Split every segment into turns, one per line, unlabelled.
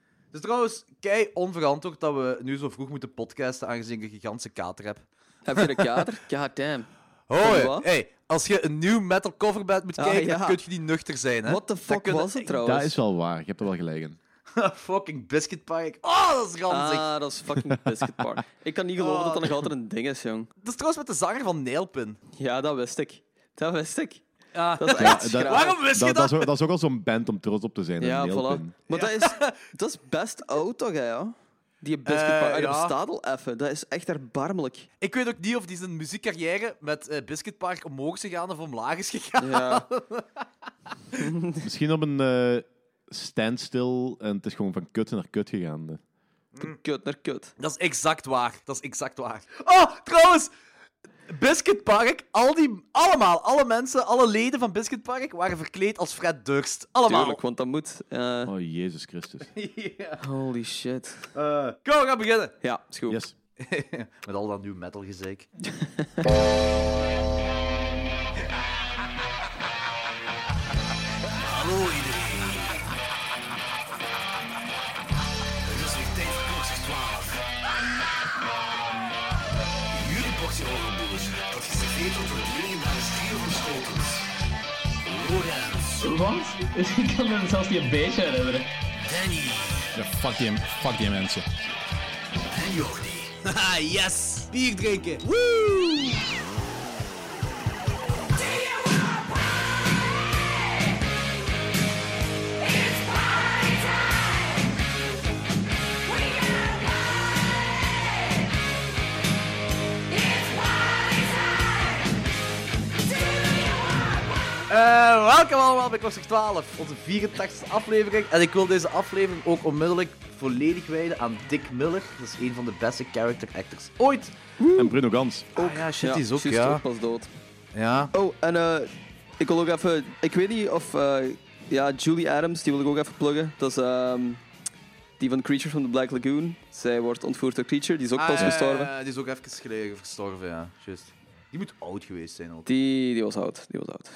Het is Dus trouwens kei onverantwoord dat we nu zo vroeg moeten podcasten, aangezien ik een gigantische kater heb.
Heb je een kader? God damn.
Hoi,
Wat?
hey, als je een nieuw metal coverband moet
Ah,
kijken,
ja.
dan kun je niet nuchter zijn, hè.
What the fuck
kunnen-
was het trouwens?
Dat is wel waar, je hebt er wel gelijk in.
Fucking Biscuit Pie. Oh, dat is ranzig.
Ah, dat is fucking Biscuit Park. Ik kan niet geloven dat dat nog altijd een ding is, jong.
Dat is trouwens met de zanger van Nailpin.
Ja, dat wist ik. Dat wist ik.
Ja.
Dat is
Ja,
echt
dat-
schraal.
Waarom wist je
Dat, dat,
dat?
is ook, dat is ook al zo'n band om trots op te zijn.
Ja,
een
voilà.
neelpin.
Maar dat, is, dat is best oud toch, hè, ja? Die Biscuit
Eh,
Park. En Dat
ja.
bestaat al even. Dat is echt erbarmelijk.
Ik weet ook niet of die zijn muziekcarrière met eh, Biscuit Park omhoog is gegaan of omlaag is gegaan.
Ja.
Misschien op een eh, standstill en het is gewoon van kut naar kut gegaan. hè.
Van kut naar kut.
Dat is exact waar. Dat is exact waar. Oh, trouwens. Biscuit Park, al die, allemaal, alle mensen, alle leden van Biscuit Park waren verkleed als Fred Durst. Allemaal.
Tuurlijk, want dat moet. Eh,
Oh, Jezus Christus.
Ja.
holy shit.
Eh, kom, we gaan beginnen.
Ja, is goed.
Yes.
Met al dat nieuw metal gezeik.
Hallo iedereen. Het is weer tijd voor Proxy 12. Jullie Proxy Horrorboers, dat geserveerd wordt door het legendarische trio van Schotens. Lorenz,
Want ik kan me zelfs niet een beetje herinneren.
Danny
Ja, fuck, die, fuck die mensen.
en Jordi.
Haha, yes! Bier drinken! Eh, welkom allemaal bij Klosser 12, onze 84e aflevering. En ik wil deze aflevering ook onmiddellijk volledig wijden aan Dick Miller. Dat is een van de beste character actors ooit.
En Bruno Gans.
Ook. Ah, ja, shit, die is ook,
juist
ja.
ook pas dood.
Ja.
Oh, en eh, ik wil ook even... Ik weet niet of... eh, ja, Julie Adams, die wil ik ook even pluggen. Dat is ehm, die van Creature from the Black Lagoon. Zij wordt ontvoerd door Creature, die is ook pas
Ah,
gestorven.
eh, die is ook even geleden gestorven, ja. Just. Die moet oud geweest zijn ook.
Die, die was oud, die was oud.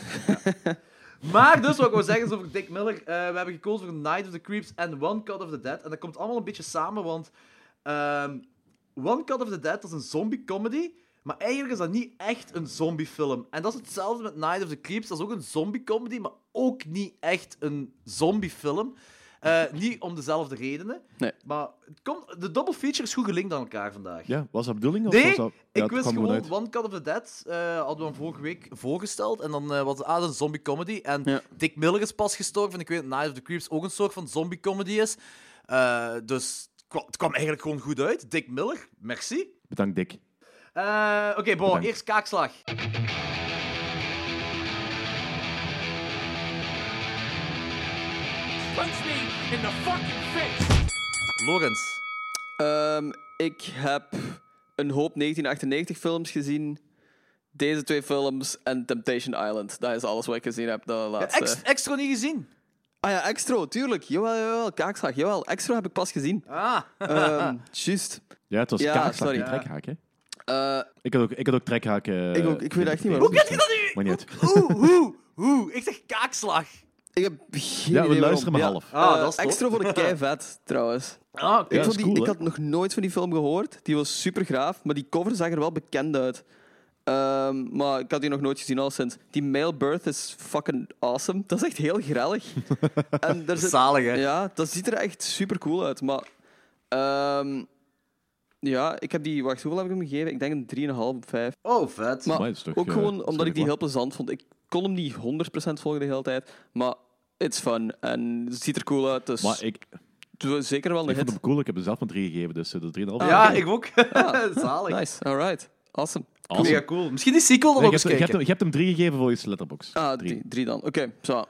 Maar dus, wat ik wil zeggen is over Dick Miller. eh, we hebben gekozen voor Night of the Creeps en One Cut of the Dead. En dat komt allemaal een beetje samen, want ehm, One Cut of the Dead dat is een zombie-comedy. Maar eigenlijk is dat niet echt een zombiefilm. En dat is hetzelfde met Night of the Creeps. Dat is ook een zombie-comedy, maar ook niet echt een zombiefilm. Eh niet om dezelfde redenen.
Nee.
Maar het komt, de double feature is goed gelinkt aan elkaar vandaag.
Ja, was dat de bedoeling? Of
Nee,
was dat, Ja,
ik
het
wist
kwam
gewoon
uit.
One Cut of the Dead. eh, hadden we hem vorige week voorgesteld. En dan eh, was het ah, dat is een zombie comedy. En
Ja.
Dick Miller is pas gestorven. En ik weet dat Night of the Creeps ook een soort van zombie comedy is. Eh, dus het kwa- het kwam eigenlijk gewoon goed uit. Dick Miller, merci.
Bedankt, Dick.
Eh, Oké, bon,
Bedankt.
eerst kaakslag.
Punch me in the fucking face.
Lorenz.
Ehm, ik heb een hoop 1998 films gezien. Deze twee films en Temptation Island. Dat is alles wat ik gezien heb. De laatste.
Ex
eh?
extra niet gezien.
ah ja, Extra, tuurlijk. Jawel, jawel, kaakslag. Jawel, Extra heb ik pas gezien.
Ah.
Eh,
Ehm juist.
Ja, het was
Ja,
kaakslag,
sorry.
niet trekhaak, hè?
Eh,
Ik had ook, ik had ook trekhaak. eh,
Ik ook, ik weet echt niet waarom.
Hoe kent je dat nu?
Maar niet uit.
Hoe, hoe, hoe? Ik zeg kaakslag.
ik heb geen
Ja, we
idee
luisteren maar
waarom.
half.
Ja.
Ah,
Eh,
dat is tof.
extra voor de kei vet, trouwens.
Ah, oké.
Ik,
Ja,
vond
is
die,
cool,
ik
hè?
had nog nooit van die film gehoord. Die was super graaf, maar die cover zag er wel bekend uit. Ehm, maar ik had die nog nooit gezien al sinds. Die Male Birth is fucking awesome. Dat is echt heel grellig. en er zit,
Zalig, hè?
ja, dat ziet er echt super cool uit. Maar ehm, ja, ik heb die. Wacht, hoeveel heb ik hem gegeven? Ik denk een 3,5 op 5.
Oh, vet.
Maar
Maar dat is toch,
ook
eh,
gewoon
dat is
omdat ik
redelijk
die
waar.
heel plezant vond. Ik kon hem niet 100% volgen de hele tijd, maar it's fun en het ziet er cool uit. Dus
Maar ik,
het was zeker wel
ik
een
vond
hit.
hem cool. Ik heb er zelf een drie gegeven, dus eh, dat is 3,5.
ja, ik ook. Ah, Zalig.
Nice, alright. Awesome.
Awesome.
Mega cool. Misschien die sequel
Nee,
nog
je,
eens
hebt, je, hebt,
kijken.
hem- je hebt hem drie gegeven volgens Letterboxd.
Ah,
Drie.
drie, drie dan. Oké, zo.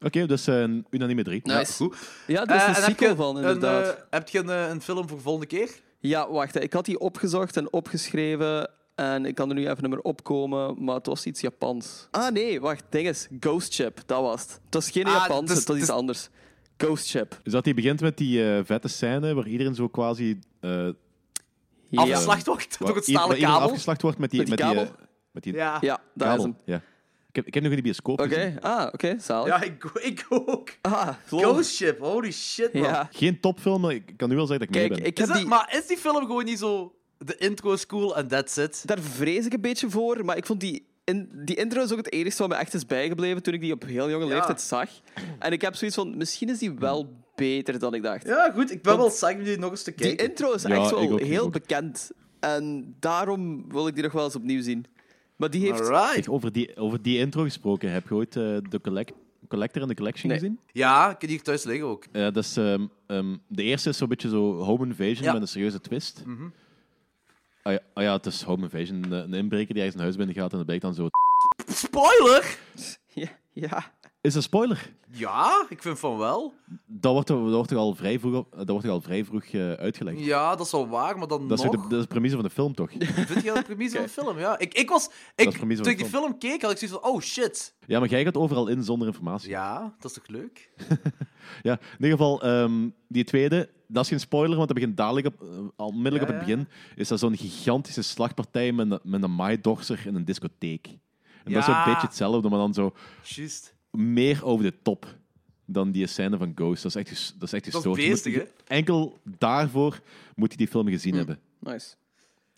Oké, dus eh, een unanieme drie.
Nice.
goed.
Ja, er is
Eh,
een
en heb
sequel
je
van,
een,
inderdaad.
eh, heb je een, eh, een film voor volgende keer?
Ja, wacht. hè. Ik had die opgezocht en opgeschreven. En ik kan er nu even niet meer opkomen, maar het was iets Japans. Ah nee, wacht. Ding is, Ghost Ship, dat was het. Het was geen
Ah,
Japans,
dus-
het was iets
dus-
anders. Ghost Ship.
Is dat die begint met die eh, vette scène waar iedereen zo quasi... eh
Afgeslacht wordt
waar
door het
ieder- waar
stalen
iedereen
kabel?
afgeslacht wordt met die...
Met die
eh,
kabel?
met die
Ja.
Ja, dat is
kabel.
hem.
Ja. Ik heb, ik heb nog in de bioscoop
Oké,
gezien.
ah, oké, zalig.
Ja, ik, ik ook.
ah, lol.
Ghost Ship, holy shit, man.
Ja.
Geen topfilm, maar ik kan nu wel zeggen dat ik
Kijk,
mee ben.
ik
Is
heb
dat-
die...
Maar is die film gewoon niet zo... De intro is cool en that's it?
Daar vrees ik een beetje voor, maar ik vond die, in, die intro is ook het enige wat me echt is bijgebleven toen ik die op heel jonge leeftijd zag. En ik heb zoiets van, misschien is die wel beter dan ik dacht.
Ja, goed. Ik ben wel psyched om die nog eens te
Die
kijken.
intro is
Ja,
echt
ik
wel
ook, ik
heel
ook.
bekend. En daarom wil ik die nog wel eens opnieuw zien. Maar die heeft...
Alright.
Zeg, over, die, over die intro gesproken, heb je ooit eh, de collect, Collector en de Collection
Nee.
gezien?
Ja, ik heb die hier thuis liggen ook.
Eh, dat is, ehm, ehm, de eerste is zo'n beetje zo Home Invasion
Ja.
met een serieuze twist. Ah, ja, ah ja, het is Home Invasion. eh, Een inbreker die ergens een huis binnen gaat en dat blijkt dan zo...
Spoiler!
Ja, ja.
Is een spoiler?
Ja, ik vind van wel.
Dat wordt, dat wordt toch al vrij vroeg, op- dat wordt toch al vrij vroeg eh, uitgelegd?
Ja, dat is wel waar, maar dan
Dat is,
nog...
ook de, dat is de premisse van de film, toch?
Vind je dat de premise van de film? Ja, ik, ik was... Ik,
is de
toen
premise
ik
van de
die film keek, had ik zoiets van... Oh, shit.
Ja, maar jij gaat overal in zonder informatie. Ja,
Ja, dat is toch leuk?
in ieder geval, ehm, die tweede, dat is geen spoiler, want dat begint dadelijk, op, eh, al onmiddellijk
Ja,
op het
ja.
begin, is dat zo'n gigantische slagpartij met, een- met een maaidorser in een discotheek. En dat is
Ja.
zo'n beetje hetzelfde, maar dan zo
Juist.
meer over de top dan die scène van Ghost. Dat is echt, ges- dat is echt
Dat is
gestoord. Je moet-
beestig, hè? Hm.
enkel daarvoor moet je die film gezien hebben.
Nice.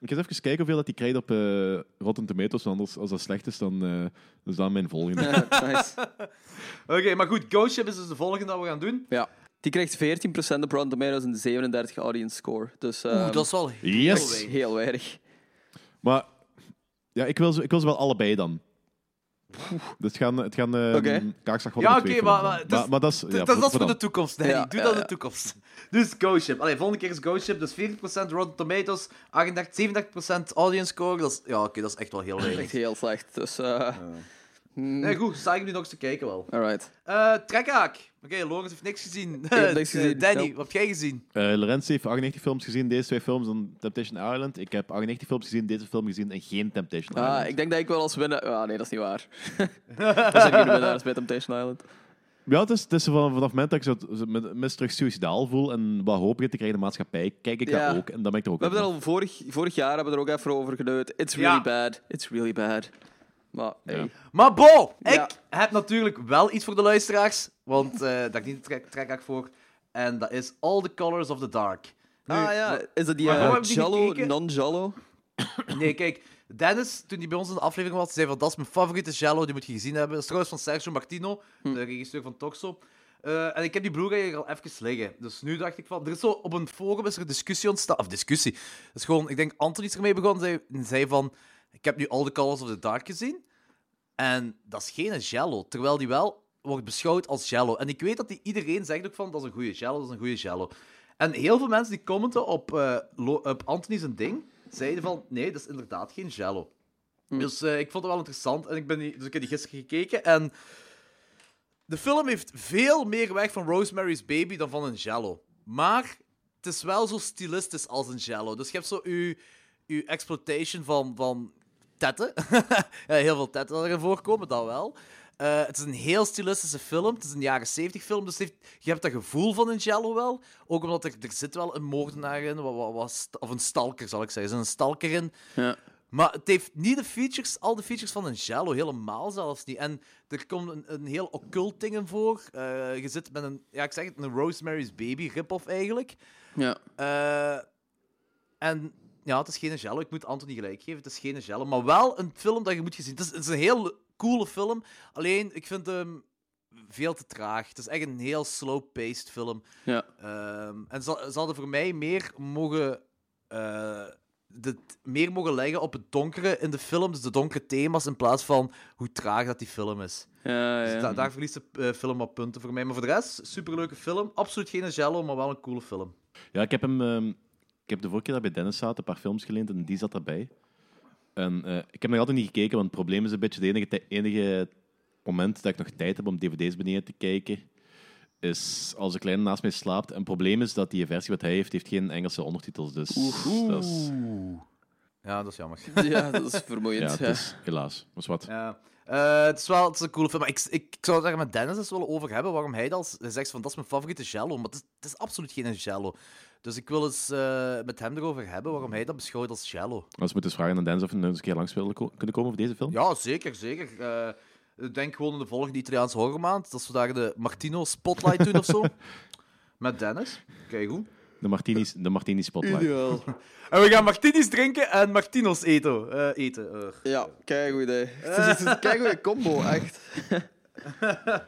Ik ga eens even kijken hoeveel dat die krijgt op eh, Rotten Tomatoes, want anders, als dat slecht is, dan eh, is dat mijn volgende.
Ja, Eh, nice.
Oké, maar goed. Ghost Ship is dus de volgende dat we gaan doen.
Ja. Die krijgt 14% op Rotten Tomatoes en 37 audience score. Dus
Oeh,
ehm,
dat is wel heel
Yes!
weinig.
heel weinig.
Maar ja, ik, wil ze, ik wil ze wel allebei dan. Dus het gaan, het gaan eh
Oké.
kaakslag
Ja,
worden
oké,
twee
maar-
films
maar
dan.
het is-
maar dat is, ja,
Dat- dat, dat is voor
dan.
de toekomst, nee.
Ja,
Doe
ja,
dat in
ja.
de toekomst. Dus Ghost Ship. Allee, volgende keer is Ghost Ship. Dus 40% Rotten Tomatoes, 38, 37% audience score. Dat is, ja, oké, dat is echt wel heel
Echt
weinig.
heel slecht. Dus, eh
Nee, goed, sta ik nu nog eens te kijken wel.
alright.
Eh trekhaak. Oké, Lorenz heeft niks gezien. Eh,
heb niks gezien,
Danny,
ja.
wat heb jij gezien?
Eh, Laurens heeft 98 films gezien, deze twee films, dan Temptation Island. Ik heb 98 films gezien, deze film gezien en geen Temptation Island.
Ah, ik denk dat ik wel als winnaar... Ah, nee, dat is niet waar. er zijn geen winnaars bij Temptation Island.
Ja, het is, het is van- vanaf het moment dat ik zo- zo me, me terug suicidaal voel en wat hoop ik te krijgen in de maatschappij, kijk ik
Ja.
dat ook en dan ben ik er ook
We hebben
aan.
er al vorig, vorig jaar hebben we er ook even over geneut. It's
Ja.
really bad. It's really bad. Maar, hey.
Ja.
Maar Bo, ik
Ja.
heb natuurlijk wel iets voor de luisteraars. Want eh daar heb ik niet de trek- trekhaak voor. En dat is All the Colors of the Dark. Nu,
Ah ja, is dat die
waarom
eh,
hebben we die
Jallo,
gekeken?
non-Jallo?
Nee, kijk, Dennis, toen hij bij ons in de aflevering was, zei van dat is mijn favoriete Jello, die moet je gezien hebben. Dat is trouwens van Sergio Martino, de regisseur van Toxo. Eh, en ik heb die broer eigenlijk al even liggen. Dus nu dacht ik van, er is zo op een forum is er een discussie ontstaan. Of discussie. Dat is gewoon, ik denk, Anthony is ermee begonnen zei- en zei van, ik heb nu All the Colors of the Dark gezien. En dat is geen Jello, terwijl die wel wordt beschouwd als Jello. En ik weet dat die iedereen zegt ook van, dat is een goede Jello, dat is een goede Jello. En heel veel mensen die commenten op, eh, Lo- op Anthony zijn ding, zeiden van, nee, dat is inderdaad geen Jello. Dus eh, ik vond het wel interessant. En ik ben die, dus ik heb die gisteren gekeken en... De film heeft veel meer weg van Rosemary's Baby dan van een Jello. Maar het is wel zo stilistisch als een Jello. Dus je hebt zo uw, uw exploitation van, van tetten. Ja, heel veel tetten dat erin voorkomen, dat wel. Eh, het is een heel stilistische film. Het is een jaren 70 film, dus het heeft- je hebt dat gevoel van een Jello wel. Ook omdat er, er zit wel een moordenaar in, wa- wa- wa- st- of een stalker zal ik zeggen. Er zit een stalker in.
Ja.
Maar het heeft niet de features, al de features van een Jello, helemaal zelfs niet. En er komt een, een heel occult ding in voor. Eh, je zit met een, ja, ik zeg het, een Rosemary's Baby rip-off eigenlijk.
Ja.
Eh, en ja, het is geen Jello. Ik moet Anthony gelijk geven. Het is geen Jello. Maar wel een film dat je moet gezien. Het is, het is een heel coole film. Alleen, ik vind hem veel te traag. Het is echt een heel slow-paced film.
Ja.
Ehm, en ze, ze hadden voor mij meer mogen, eh, de, meer mogen leggen op het donkere in de film. Dus de donkere thema's in plaats van hoe traag dat die film is.
Ja,
Dus
ja.
da- daar verliest de eh, film wat punten voor mij. Maar voor de rest, superleuke film. Absoluut geen Jello, maar wel een coole film.
Ja, ik heb hem. ehm, ik heb de vorige keer dat bij Dennis zaten een paar films geleend en die zat daarbij. En eh, ik heb nog altijd niet gekeken, want het probleem is een beetje het enige, tij- enige moment dat ik nog tijd heb om dvd's beneden te kijken. Is als de kleine naast mij slaapt. En het probleem is dat die versie wat hij heeft, heeft geen Engelse ondertitels. Dus dat is,
Ja, dat is jammer.
ja, dat is
ja,
vermoeiend.
het
Ja,
is helaas. Maar is wat.
Ja. Eh, het is wel het is een coole film. Maar ik, ik, ik zou het daar met Dennis eens willen over hebben. Waarom hij dat hij zegt van dat is mijn favoriete Jello. Maar het is, het is absoluut geen Jello. Dus ik wil eens eh, met hem erover hebben waarom hij dat beschouwt als Jello.
Als we moeten vragen aan Dennis of we nog eens een keer langs willen ko- kunnen komen voor deze film.
Ja, zeker, zeker. Eh, Ik Denk gewoon in de volgende Italiaanse horrormaand, dat ze daar de Martino Spotlight doen of zo. Met Dennis. Kijk goed.
De Martini's, de Martini Spotlight.
Ideaal.
En we gaan Martinis drinken en Martinos eten. eh, eten. eh.
Ja, kijk goed idee. Het is, het is een keigoede combo, echt.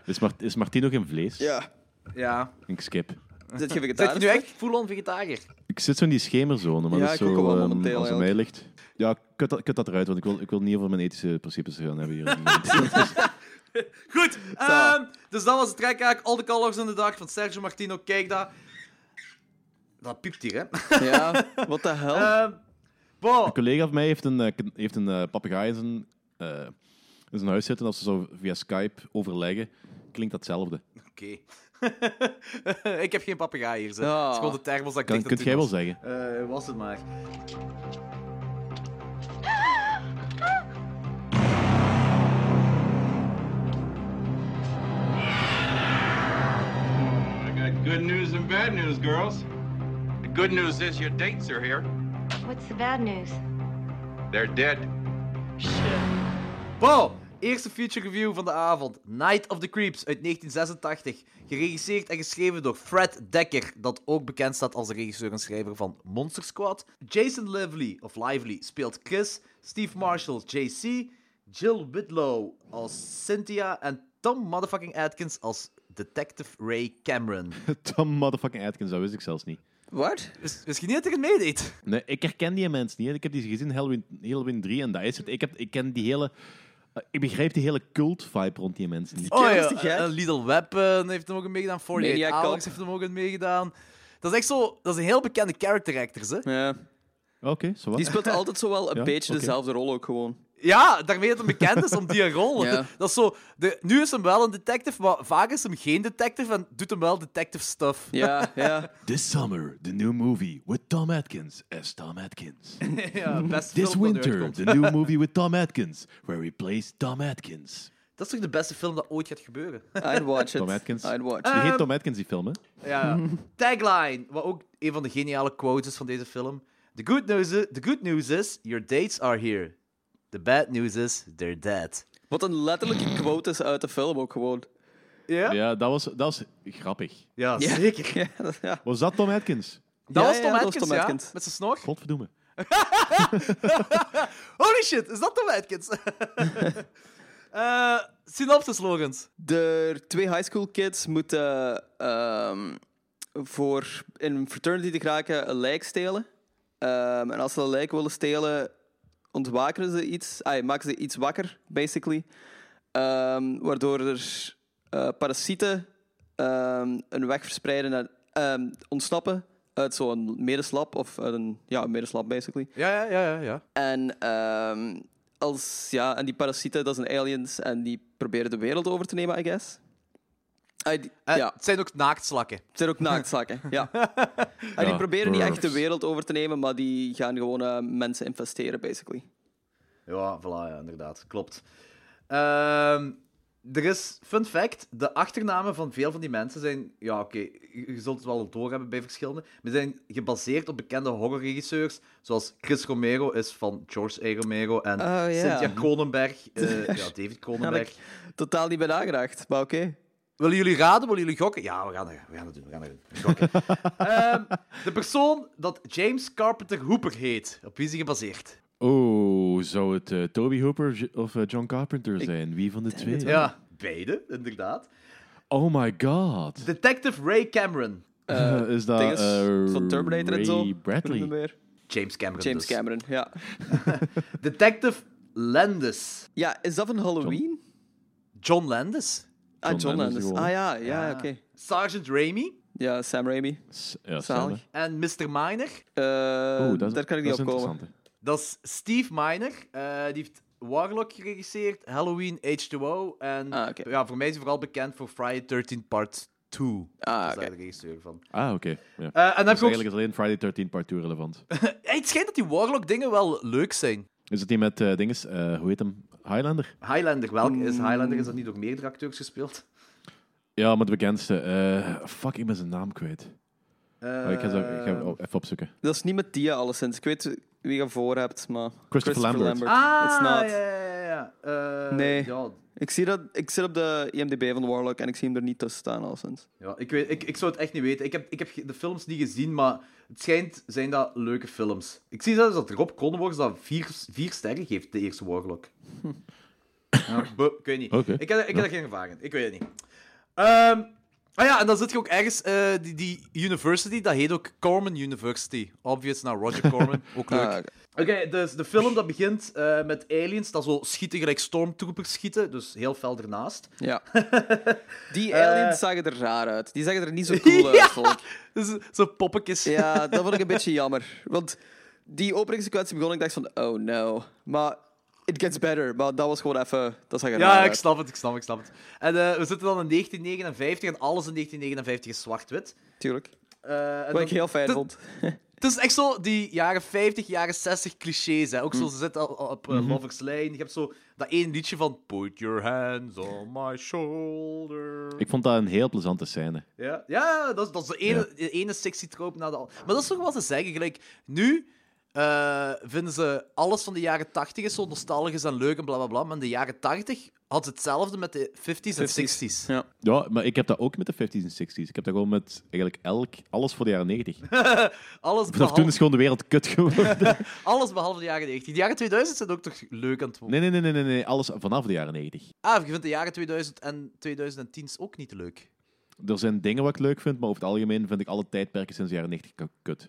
Is, Mart is Martino geen vlees?
Ja.
Ja.
Ik skip.
Zit je
Zit je
vegetarisch?
nu echt full-on vegetariër?
Ik zit zo in die schemerzone, maar
Ja,
dat is
ik ook
zo,
wel
ehm,
momenteel
als het mij ligt... Ja, kut dat, kut dat eruit, want ik wil, ik wil niet over mijn ethische principes gaan hebben hier. Dus
Goed, ehm, dus dat was de trekhaak All the Colors in the Dark van Sergio Martino. Kijk dat. Dat piept hier, hè?
Ja, wat de hel?
Ehm wow.
Een collega van mij heeft een, eh, kn- heeft een eh, papegaai in zijn, eh, in zijn huis zitten. Als ze zo via Skype overleggen, klinkt datzelfde.
Oké. ik heb geen papegaai hier. Ze.
Ja.
Het is gewoon de thermos dat ik
Kan,
dicht
kunt
aan toe
jij wel
was.
zeggen?
Eh, was het maar.
I got good news and bad news, girls. The good news is your dates are here.
What's the bad news?
They're dead.
Wow. Eerste feature review van de avond. Night of the Creeps uit 1986. Geregisseerd en geschreven door Fred Dekker, dat ook bekend staat als de regisseur en schrijver van Monster Squad. Jason Lively, of Lively speelt Chris, Steve Marshall JC, Jill Whitlow als Cynthia en Tom motherfucking Atkins als Detective Ray Cameron.
Tom motherfucking Atkins, dat wist ik zelfs niet.
Wat?
Is, is je niet dat ik het meedeed?
Nee, ik herken die mensen niet. hè. Ik heb die gezien in Halloween, Halloween 3 en dat is het. Ik, heb, ik ken die hele... eh, ik begrijp die hele cult-vibe rond die mensen niet.
Oh ja,
eh, eh, Lidl Weapon heeft hem ook een meegedaan. 48
Maniac
Alex
Cop.
heeft hem ook een meegedaan. Dat is echt zo... Dat zijn heel bekende character actors, hè?
Ja.
Oké, zo
Die
wat.
speelt altijd zo wel een
Ja,
beetje
oké.
dezelfde rol ook gewoon.
Ja, daarmee dat hem bekend is om die rol.
Ja.
Dat is zo... De, nu is hem wel een detective, maar vaak is hem geen detective en doet hem wel detective stuff.
Ja, ja.
This summer, the new movie with Tom Atkins as Tom Atkins.
Ja, beste film
This
dat nu
winter,
uitkomt.
the new movie with Tom Atkins, where he plays Tom Atkins.
Dat is toch de beste film dat ooit gaat gebeuren?
I'd watch it.
Tom Atkins.
I'd watch Um,
Die
it.
heet Tom Atkins, die film, hè?
Ja. Tagline, wat ook een van de geniale quotes is van deze film. The good news is, the good news is your dates are here. The bad news is, they're dead.
Wat een letterlijke quote is uit de film ook gewoon.
Ja? Ja,
Ja, dat was, dat was grappig.
zeker.
Ja, dat, ja.
Was dat Tom Atkins?
Dat,
Ja,
was Tom
ja, dat was
Atkins,
Tom
ja?
Atkins.
Met zijn snor?
Godverdomme.
Holy shit, is dat Tom Atkins? Eh synopsis, Logans.
De twee high school kids moeten ehm, voor in een fraternity te geraken een lijk stelen. Ehm, en als ze dat lijk willen stelen, ontwaken ze iets. Ah, maken ze iets wakker, basically. Ehm, waardoor er eh, parasieten ehm, een weg verspreiden naar ehm, ontsnappen uit zo'n medeslap. Of uit een, ja, een medeslap, basically.
Ja, ja, ja, ja. ja.
En, ehm, als, ja, en die parasieten, dat zijn aliens, en die proberen de wereld over te nemen, I guess. Ah, die-
Eh,
ja,
Het zijn ook naaktslakken.
het zijn ook naaktzakken, ja. En die
Ja,
proberen niet echt de
pervs.
wereld over te nemen, maar die gaan gewoon eh, mensen investeren, basically.
Ja, voilà, ja, inderdaad. Klopt. Ehm, er is, fun fact, de achternamen van veel van die mensen zijn... Ja, oké, je je zult het wel doorhebben bij verschillende. Maar zijn gebaseerd op bekende horrorregisseurs, zoals Chris Romero is van George A. Romero en
ja.
Cynthia Kronenberg, eh, ja, David Kronenberg.
Totaal niet bij nagedacht, maar oké.
Willen jullie raden? Willen jullie gokken? Ja, we gaan het, we gaan het doen. We gaan het doen. Gokken. Ehm, de persoon dat James Carpenter Hooper heet, op wie is hij gebaseerd?
Oh, zou het eh, Toby Hooper J- of eh, John Carpenter zijn? Wie van de twee?
Ja, beide, inderdaad.
Oh my god.
Detective Ray Cameron.
Eh, is dat
Ding is
eh,
van Terminator en zo.
Ray
Ik weet
Bradley?
het niet meer.
James Cameron
James
dus.
Cameron, ja.
Detective Landis.
Ja, is dat van Halloween?
John Landis.
ah,
John
John Landis.
Landis gewoon.
Ah ja, ja,
Ja.
oké.
Sergeant Raimi.
Ja, Sam Raimi. Eh,
S- Ja,
Zalig.
zalig.
En Mr. Miner.
Eh,
Oeh, dat is-
daar kan ik niet
dat is
op komen.
interessant, hè.
Dat is Steve Miner. Eh, die heeft Warlock geregisseerd, Halloween, H2O. En
Ah, oké.
ja, voor mij is hij vooral bekend voor Friday 13 Part 2.
Ah,
dat is
oké.
daar de regisseur van.
Ah, oké. Ja.
Eh, en dan heb
Dus
je ook
eigenlijk is alleen Friday 13 Part 2 relevant.
Ja, het schijnt dat die Warlock-dingen wel leuk zijn.
Is het die met eh dinges, eh, hoe heet hem? Highlander?
Highlander, welk is
Mm.
Highlander? Is dat niet door meerdere acteurs gespeeld?
Ja, maar de bekendste. eh, fuck, ik ben zijn naam kwijt. Maar Oh, ik ga, zo, ik
Eh,
ga even opzoeken.
Dat is niet met Dia alleszins. Ik weet wie je voor hebt, maar...
Christopher Lambert.
Ah,
It's not.
ja, ja, ja. ja. Eh,
Nee.
ja,
Ik, zie dat, ik zit op de IMDb van Warlock en ik zie hem er niet tussen staan, alleszins.
Ja, ik, weet, ik, ik zou het echt niet weten. Ik heb, ik heb ge- de films niet gezien, maar het schijnt zijn dat leuke films. Ik zie zelfs dat Rob Cronenworth dat vier, vier sterren geeft, de eerste Warlock. Ja, bo- ik weet niet.
Oké.
Ik heb, ik heb er geen ervaring in. Ik weet het niet. Ehm, ah ja, en dan zit je ook ergens... eh, die, die university, dat heet ook Corman University. Obvious, naar Roger Corman. ook leuk.
Ah, oké.
Oké, dus de film dat begint eh, met aliens dat zo schieten gelijk stormtroopers schieten. Dus heel fel ernaast.
Ja. Die aliens zagen er raar uit. Die zagen er niet zo cool uit, vond ik.
Dus zo poppetjes.
Ja, dat vond ik een beetje jammer. Want die openingssequentie begon ik dacht van, oh no. Maar it gets better. Maar dat was gewoon even... Dat zag er raar
Ja, ik
uit.
snap het, ik snap, ik snap het. En eh, we zitten dan in 1959 en alles in 1959 is zwart-wit.
Tuurlijk.
Eh, en
Wat
dan-
ik heel fijn
Dat-
vond.
Het is echt zo die jaren 50, jaren 60 clichés. Hè? Ook zo, ze zitten al op eh, Lover's Lane. Je hebt zo dat één liedje van Put your hands on my shoulder.
Ik vond dat een heel plezante scène.
Ja, ja dat, is, dat is de ene, de ene sexy trope na de andere. Maar dat is toch wat ze zeggen. Gelijk, nu eh, vinden ze alles van de jaren 80 is zo nostalgisch en leuk en bla bla bla. Maar in de jaren 80 had ze hetzelfde met de 50s, en 60s.
Ja.
Ja, maar ik heb dat ook met de 50s en 60s. Ik heb dat gewoon met eigenlijk elk, alles voor de jaren 90.
Alles
Vanaf toen
behalve,
is gewoon de wereld kut geworden.
alles behalve de jaren 90. De jaren 2000 zijn ook toch leuk aan het worden.
Nee, nee, nee, nee, nee, nee, alles vanaf de jaren 90.
Ah, je vindt de jaren 2000 en 2010 ook niet leuk.
Er zijn dingen wat ik leuk vind, maar over het algemeen vind ik alle tijdperken sinds de jaren 90 k- kut.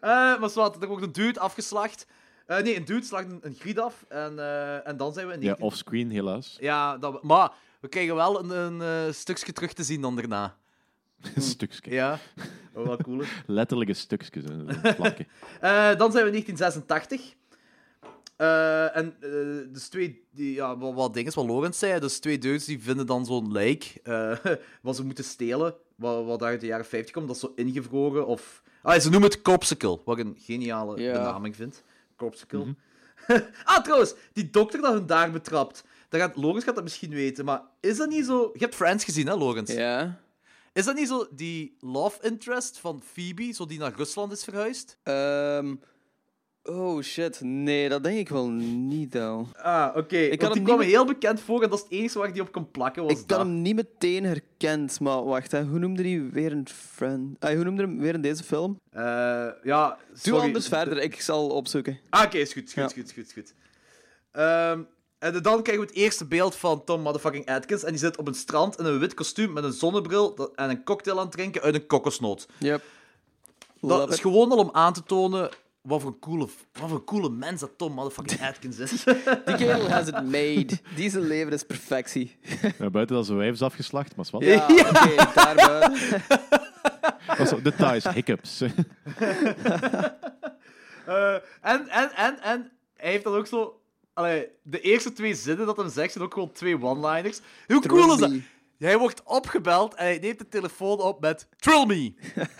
Eh, maar zwart, er wordt een dude afgeslacht. Eh, nee, een dude slacht een, een griet af. En, eh, en dan zijn we in
Ja,
19
offscreen helaas.
Ja, dat, we- maar we krijgen wel een, een eh, stukje terug te zien dan daarna.
Een stukje.
Ja, oh, wel cool.
Letterlijke stukjes. hè, zo'n plakken.
Eh, dan zijn we in 1986. Eh, en eh, dus twee, die, ja, wat, wat dingen, wat Lorenz zei, dus twee dudes die vinden dan zo'n lijk, eh, wat ze moeten stelen, wat, wat uit de jaren 50 komt, dat is zo ingevroren of... Ah, ze noemen het Corpsicle, wat ik een geniale
Ja. Mhm.
benaming vind. Corpsicle. ah, trouwens, die dokter dat hun daar betrapt, dat gaat, Lorenz gaat dat misschien weten, maar is dat niet zo... Je hebt Friends gezien, hè, Lorenz?
Ja.
Is dat niet zo die love interest van Phoebe, zo die naar Rusland is verhuisd?
Ehm, oh shit. Nee, dat denk ik wel niet, though.
Ah, oké. Ik
kan
die
hem
kwam
niet-
heel bekend voor en dat is het enige waar ik die op kon plakken. Was
Ik had
dat.
hem niet meteen herkend, maar wacht, hè. hoe noemde hij weer een friend? Ah, hoe noemde hem weer in deze film?
Eh, ja,
Doe
sorry.
anders verder, ik zal opzoeken.
Ah, oké, is goed, is goed, is goed, is goed. is goed. Ehm, en dan krijgen we het eerste beeld van Tom motherfucking Atkins. En die zit op een strand in een wit kostuum met een zonnebril dat- en een cocktail aan het drinken uit een kokosnoot.
Yep.
Dat is gewoon al om aan te tonen wat voor een coole, wat voor een coole mens dat Tom motherfucking Atkins is.
Die kerel has it made. Die zijn leven is perfectie.
Ja, buiten dat ze wijf is afgeslacht, maar wat.
Ja, oké, daarbuiten.
Details, hiccups.
Eh, en, en, en, en hij heeft dan ook zo. Allee, de eerste twee zinnen dat hem zegt zijn ook gewoon twee one-liners. Hoe cool is dat?
Truly.
Hij wordt opgebeld en hij neemt de telefoon op met Trill me.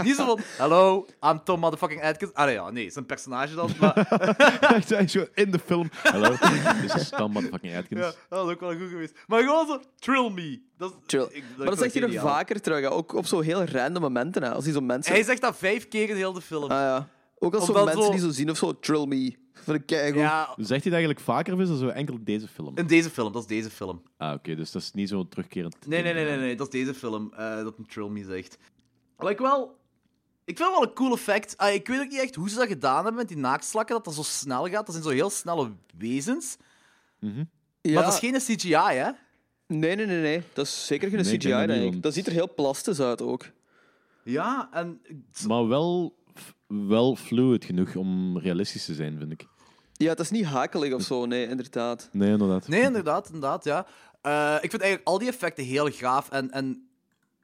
Niet zo van, hello, I'm Tom motherfucking Atkins. Ah nee, ja, nee, zijn personage dan. Maar
Echt, hij is gewoon in de film. Hallo, dit is Stan motherfucking Atkins.
ja, dat is ook wel goed geweest. Maar gewoon zo, Trill me. Dat is,
Chill.
ik-
Maar
vind
dat zegt hij nog
geniaal.
vaker terug, hè. ook op zo heel random momenten. Hè. Als hij zo mensen...
Hij zegt dat vijf keer in heel de film.
Ah, ja. Ook als zo
Omdat
mensen
zo-
die zo zien of zo, trill me. Van een keigoed.
ja,
Zegt hij dat eigenlijk vaker of is dat zo enkel deze film?
in deze film, dat is deze film.
Ah, oké, dus dat is niet zo'n terugkerend...
Nee, nee, nee, nee, nee, dat is deze film eh, dat een Trill Me zegt. Like wel, ik vind het wel een cool effect. Ah, ik weet ook niet echt hoe ze dat gedaan hebben met die naaktslakken, dat dat zo snel gaat. Dat zijn zo heel snelle wezens.
Ja.
Maar dat is geen CGI, hè?
Nee, nee, nee, nee. Dat is zeker geen
Nee, ik denk
CGI,
dat niet,
denk ik.
want-
Dat ziet er heel plastisch uit ook.
Ja, en
Maar wel, wel fluid genoeg om realistisch te zijn, vind ik.
Ja, het is niet hakelig of zo, nee, inderdaad.
Nee, inderdaad.
Nee, inderdaad, inderdaad, ja. Eh, ik vind eigenlijk al die effecten heel gaaf en, en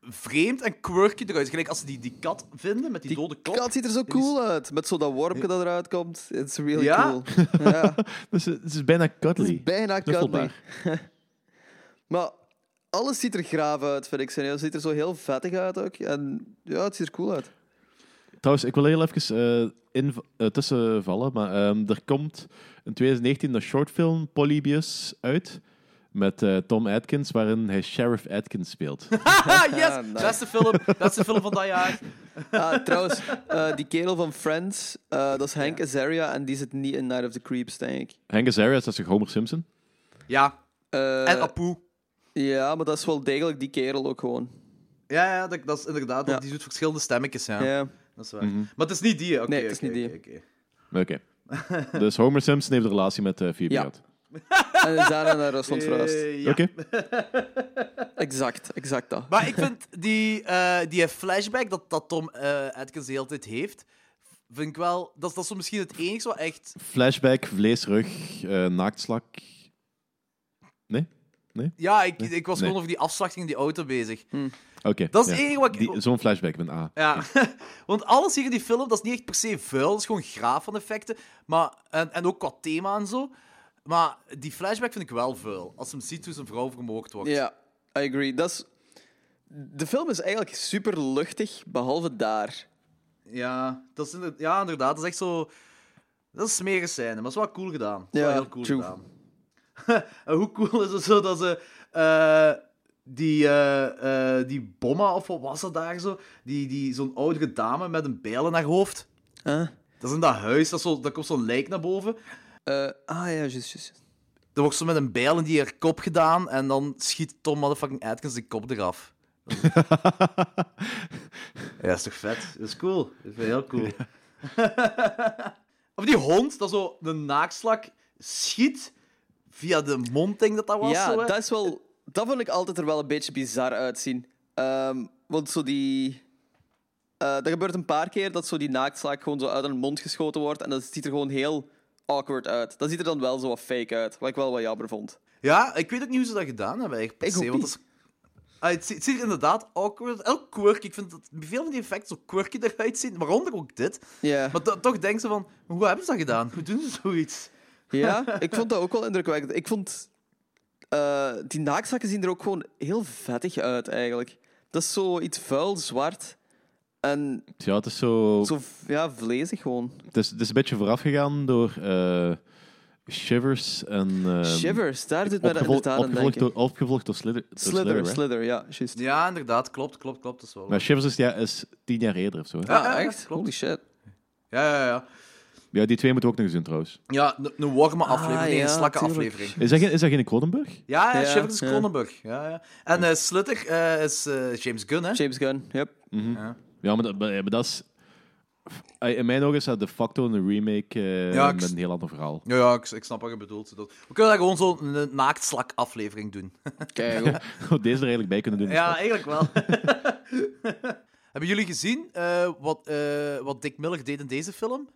vreemd en quirky eruit. Gelijk als ze die, die kat vinden met die,
Die
dode kop.
kat ziet er zo cool uit. Met zo dat wormpje dat eruit komt. It's really
Ja?
cool. Ja,
Dus, het is bijna cuddly.
bijna cuddly.
Knuffelbaar.
Maar alles ziet er graaf uit, vind ik. Serieus. Het ziet er zo heel vettig uit ook. En ja, het ziet er cool uit.
Trouwens, ik wil heel even eh, inv- eh, tussenvallen, maar ehm, er komt in 2019 een shortfilm, Polybius, uit. Met eh, Tom Atkins, waarin hij Sheriff Atkins speelt.
Haha, yes!
Ah, nice.
Beste film, beste film van dat jaar.
Ah, trouwens, eh, die kerel van Friends, eh, dat is Hank Azaria. En die zit niet in Night of the Creeps, denk ik.
Hank Azaria is dat is toch Homer Simpson?
Ja,
Eh,
en Apu.
ja, maar dat is wel degelijk die kerel ook gewoon.
Ja, ja dat, dat is inderdaad,
Ja.
die doet verschillende stemmetjes. Ja.
Ja.
Dat is waar.
Mhm.
Maar het is niet die, oké.
Nee, het is
oké,
niet die.
oké, oké.
Oké. Dus Homer Simpson heeft een relatie met eh Phoebe
Ja.
gehad.
En is daarna naar Rusland verhuisd.
Eh, ja.
Oké.
Exact, exact dat.
Maar ik vind die, eh, die flashback dat, dat Tom eh Atkins de hele tijd heeft, vind ik wel... Dat, is- dat is zo misschien het enige wat echt...
Flashback, vleesrug, eh naaktslak. Nee?
Ja, ik, ik was
Nee.
gewoon over die afslachting in die auto bezig.
Hmm.
Oké.
Dat is
ja.
het enige wat ik...
Die- Zo'n flashback ah. met A.
Ja, want alles hier in die film, dat is niet echt per se vuil, dat is gewoon graaf van effecten. Maar, en, en ook qua thema en zo. Maar die flashback vind ik wel vuil. Als hem ziet hoe zijn vrouw vermoord wordt.
Ja, I agree. Dat is... De film is eigenlijk super luchtig, behalve daar.
Ja, dat is inder- ja, inderdaad. Dat is echt zo... Dat is smerige scène, maar het is wel cool gedaan. Het is wel
Ja,
heel cool
true.
gedaan. en hoe cool is het zo dat ze... eh, die, eh, eh, die bomma, of wat was dat daar zo? Die, die, Zo'n oudere dame met een bijl in haar hoofd.
Huh?
Dat is in dat huis, dat is zo, daar komt zo'n lijk naar boven.
Eh, ah ja, juist, juist.
Er wordt zo met een bijl in die haar kop gedaan en dan schiet Tom motherfucking Atkins de kop eraf. ja, is toch vet? Dat is cool. Dat vind ik heel cool. of die hond, dat zo de naakslak schiet via de mondding dat dat was.
Ja,
zo, hè.
dat is wel... Dat vond ik altijd er wel een beetje bizar uitzien. Ehm, want zo die... eh dat gebeurt een paar keer dat zo die naaktslaak gewoon zo uit hun mond geschoten wordt. En dat ziet er gewoon heel awkward uit. Dat ziet er dan wel zo wat fake uit. Wat ik wel wat jammer vond.
ja, ik weet ook niet hoe ze dat gedaan hebben. Eigenlijk, per
Ik
se,
ook
want dat is- Ah, het, zie- het ziet er inderdaad awkward, heel quirky. Ik vind dat veel van die effecten zo quirky eruit zien, waaronder ook dit.
Ja.
Maar to- toch denk ze van, hoe hebben ze dat gedaan? Hoe doen ze zoiets?
ja, ik vond dat ook wel indrukwekkend. Ik vond... eh, die naaktzakken zien er ook gewoon heel vettig uit, eigenlijk. Dat is zo iets vuil, zwart. En
Ja, het is zo...
zo, ja, vlezig gewoon.
Het, is, het is een beetje voorafgegaan door eh, Shivers en... eh,
Shivers, daar doet mij dat
Opgevol-
inderdaad aan
opgevolgd,
denken.
door, opgevolgd door Slither. door Slither,
Slither,
hè?
Slither, ja, juist.
Ja, inderdaad. Klopt, klopt, klopt. Dat is wel...
Maar Shivers is, ja, is tien jaar eerder of zo. hè?
Ja, ja,
Ah,
ja,
echt?
klopt.
Holy shit.
Ja, ja, ja.
Ja, die twee moeten we ook nog eens doen trouwens.
Ja, een- een warme
Ah,
aflevering, nee, een
ja,
slakke
tuurlijk.
aflevering.
Is dat, geen- is dat geen Cronenberg?
Ja, ja,
Ja,
Shivers is
ja.
Cronenberg. Ja, ja. En eh Slitter eh, is eh, James Gunn, hè?
James Gunn, yep.
Ja, maar dat, maar, maar dat is... eh, In mijn ogen is dat de facto een remake eh,
Ja, ik
met
s-
een heel ander verhaal.
Ja, ja ik, ik snap wat je bedoelt. Dat... We kunnen daar gewoon zo'n eh, naaktslak aflevering doen.
Kijk,
Deze er eigenlijk bij kunnen doen. is
Ja,
dat.
eigenlijk wel. Hebben jullie gezien eh, wat, eh, wat Dick Miller deed in deze film?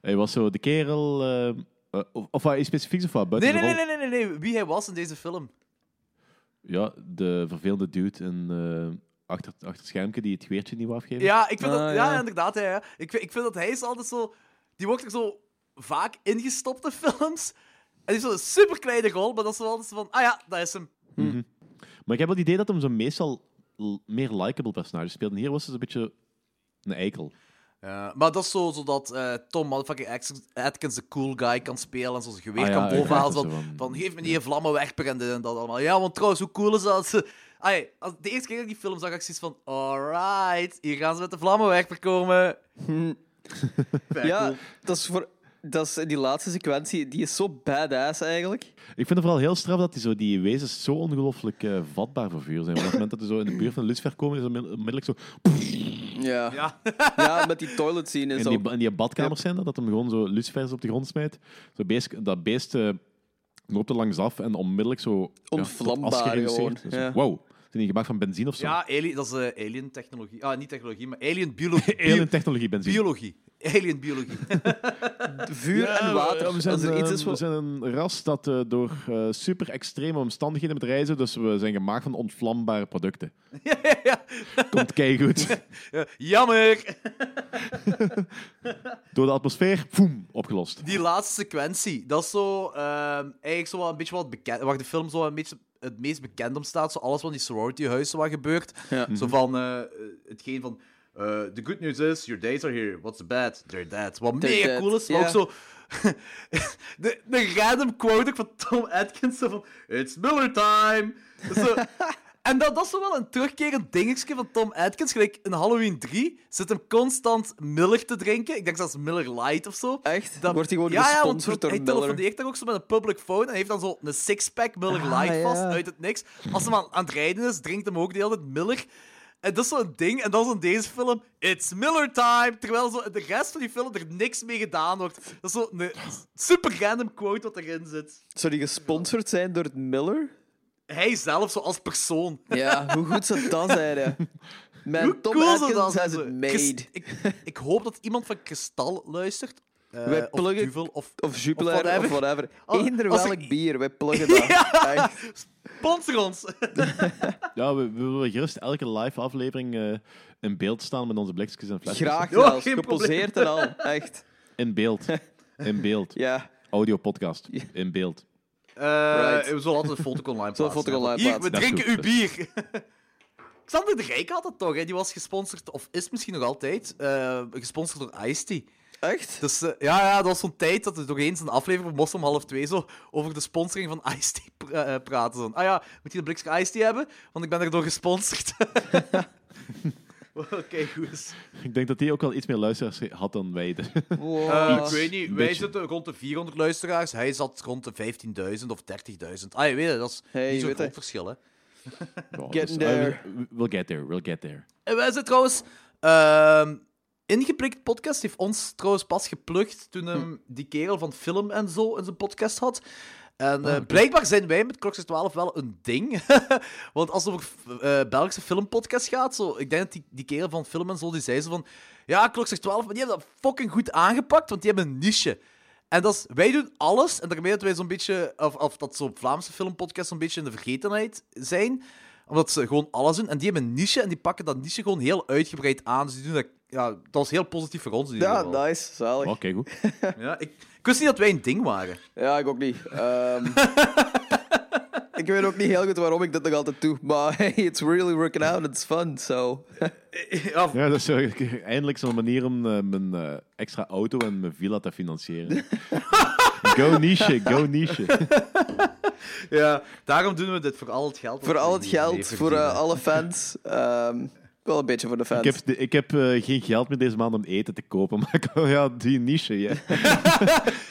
Hij was zo de kerel... eh, eh, of, of hij specifiek of wat?
Nee
Buiten
nee,
de
nee,
rol?
nee, nee, nee, nee. Wie hij was in deze film.
Ja, de vervelende dude in, eh, achter, achter het schermpje die het geweertje niet wil afgeven.
Ja, ik vind
Ah,
dat, ja,
ja.
inderdaad. Ja, ja. Ik, vind- ik vind dat hij is altijd zo. Die wordt er zo vaak ingestopt in films. En die is zo'n superkleine rol, maar dat is wel altijd zo van. Ah ja, dat is hem.
Maar ik heb wel het idee dat hem zo meestal l- meer likable personage speelt. En hier was het een beetje een eikel.
Ja, maar dat is zo, zodat eh, Tom motherfucking Atkins- Atkins de cool guy kan spelen en zo zijn geweer
Ah, ja,
kan bovenhalen.
inderdaad, dat
Van,
is
van,
wel-
geef me die vlammenwerper en dit en dat allemaal. Ja, want trouwens, hoe cool is dat? als ze- Ai, als, de eerste keer dat ik die film zag, had ik zoiets van... Alright, hier gaan ze met de vlammenwerper komen. Vrij
ja,
cool.
dat is voor... Dat is die laatste sequentie, die is zo badass eigenlijk.
Ik vind het vooral heel straf dat die, zo, die wezens zo ongelooflijk eh, vatbaar voor vuur zijn. Want op het moment dat ze zo in de buurt van Lucifer komen, is het onmiddell- onmiddellijk zo...
Ja. Ja,
Ja.
met die toilet scene en
In
zo.
die, ba- in die badkamers zijn dat, dat hem gewoon zo lucifers op de grond smijt. Zo beest, dat beest eh, loopt er langs af en onmiddellijk zo... ja, tot
Onvlambaar
as gereduceerd.
gewoon,
Dus,
ja.
Wow, zijn die gemaakt van benzine of zo?
Ja, ali- dat is eh, alien technologie. Ah, niet technologie, maar alien biologie.
Alien technologie benzine.
biologie. Alien biologie.
Vuur en water.
We zijn,
Als er iets is
eh, we
wat...
zijn een ras dat eh, door eh, super extreme omstandigheden moet reizen, dus we zijn gemaakt van ontvlambare producten.
ja, ja, ja.
Komt keigoed.
Ja, Jammer.
door de atmosfeer, poem, opgelost.
Die laatste sequentie, dat is zo ehm, eigenlijk zo wel een beetje wat bekend, waar de film zo een beetje het meest bekend om staat. Zo alles van die sororityhuizen wat gebeurt.
Ja. Mhm.
Zo van eh, hetgeen van. eh the good news is, your dates are here. What's the bad? They're dead. Wat
They're
mega
dead,
cool is, maar ook
ja.
zo. de, de random quote ook van Tom Atkins zo van. It's Miller time! Zo, En dat, dat is zo wel een terugkerend dingetje van Tom Atkins. Gelijk in Halloween 3 zit hem constant Miller te drinken. Ik denk zelfs Miller Light of zo.
Echt?
Dan
Wordt hij gewoon
ja, ja, want
gesponsord door
hij
Miller?
telefoneert daar ook zo met een public phone en heeft dan zo een sixpack Miller
Ah,
Light vast
ja.
uit het niks. Als hij aan, aan het rijden is, drinkt hem ook de hele tijd Miller. En dat is zo'n ding. En dan is in deze film, it's Miller time. Terwijl zo in de rest van die film er niks mee gedaan wordt. Dat is zo'n super random quote wat erin zit.
Zou die gesponsord zijn door het Miller?
Hij zelf, zo als persoon.
Ja, hoe goed zou dat zijn, hè? Met
Hoe
Tom
cool zou dat
Atkins
zijn?
has
zo?
it made.
Kris- Ik, ik hoop dat iemand van Kristal luistert. Eh,
Wij
of
pluggen-
Duvel, of...
Of Jupiler, of whatever.
whatever. Als-
Eender
als
welk
ik-
bier, wij pluggen dat.
Ja.
Echt.
Sponsor ons!
Ja, we, we willen gerust elke live aflevering eh, in beeld staan met onze blikjes en flesjes.
Graag
Ja,
zelfs,
geen
geposeerd en al. Echt,
In beeld. In beeld.
ja.
Audio podcast. In beeld.
Eh,
Right.
We zullen altijd een foto online plaatsen.
foto online
Hier,
plaatsen.
we
Dat
drinken
is
uw
goed.
bier. Xander de Rijk had het toch, hè? die was gesponsord, of is misschien nog altijd, eh, gesponsord door Ice-T.
Echt?
Dus eh, ja, ja, dat was zo'n tijd dat er nog eens een aflevering moest om half twee zo over de sponsoring van Ice-T pra- eh, praten. Zo. Ah ja, moet je een blikje Ice-T hebben? Want ik ben daardoor gesponsord. Oké, goed. is.
Ik denk dat die ook wel iets meer luisteraars had dan wij.
Wow.
Eh, ik weet niet, wij
beetje.
zitten rond de 400 luisteraars. Hij zat rond de 15.000 of 30.000. Ah, je weet het, dat is
Hey,
niet
je
zo'n
weet
groot
het.
verschil, hè.
Wow,
Getting
eh,
there.
we- we'll get there. We'll get there.
En wij zijn trouwens... ehm Ingeprikt podcast heeft ons trouwens pas geplukt toen hem die kerel van film en zo in zijn podcast had. En eh, blijkbaar zijn wij met Klokjes 12 wel een ding. Want als het over eh, Belgische filmpodcast gaat, zo, ik denk dat die, die kerel van film en zo, die zei zo van... Ja, Klokjes 12, maar die hebben dat fucking goed aangepakt, want die hebben een niche. En dat is, wij doen alles, en daarmee dat wij zo'n beetje... Of, of dat zo'n Vlaamse filmpodcast zo'n beetje in de vergetenheid zijn omdat ze gewoon alles doen. En die hebben een niche en die pakken dat niche gewoon heel uitgebreid aan. Dus die doen dat, ja, dat was heel positief voor ons. In ieder
Ja,
geval.
nice, zalig.
Oké, goed.
Ja, ik, ik wist niet dat wij een ding waren.
Ja, ik ook niet. Ehm, ik weet ook niet heel goed waarom ik dit nog altijd doe, maar hey, it's really working out, it's fun, so...
Ja,
Ja, dat is zo- eindelijk zo'n manier om eh, mijn eh, extra auto en mijn villa te financieren. go niche, go niche.
ja, daarom doen we dit voor al het geld. dat
Voor
we
al het
hier mee
geld, voor eh,
verdienen.
alle fans. ehm, wel een beetje voor de fans.
Ik heb, de- ik heb eh, geen geld meer deze maand om eten te kopen, maar ik- ja, die niche. Ja.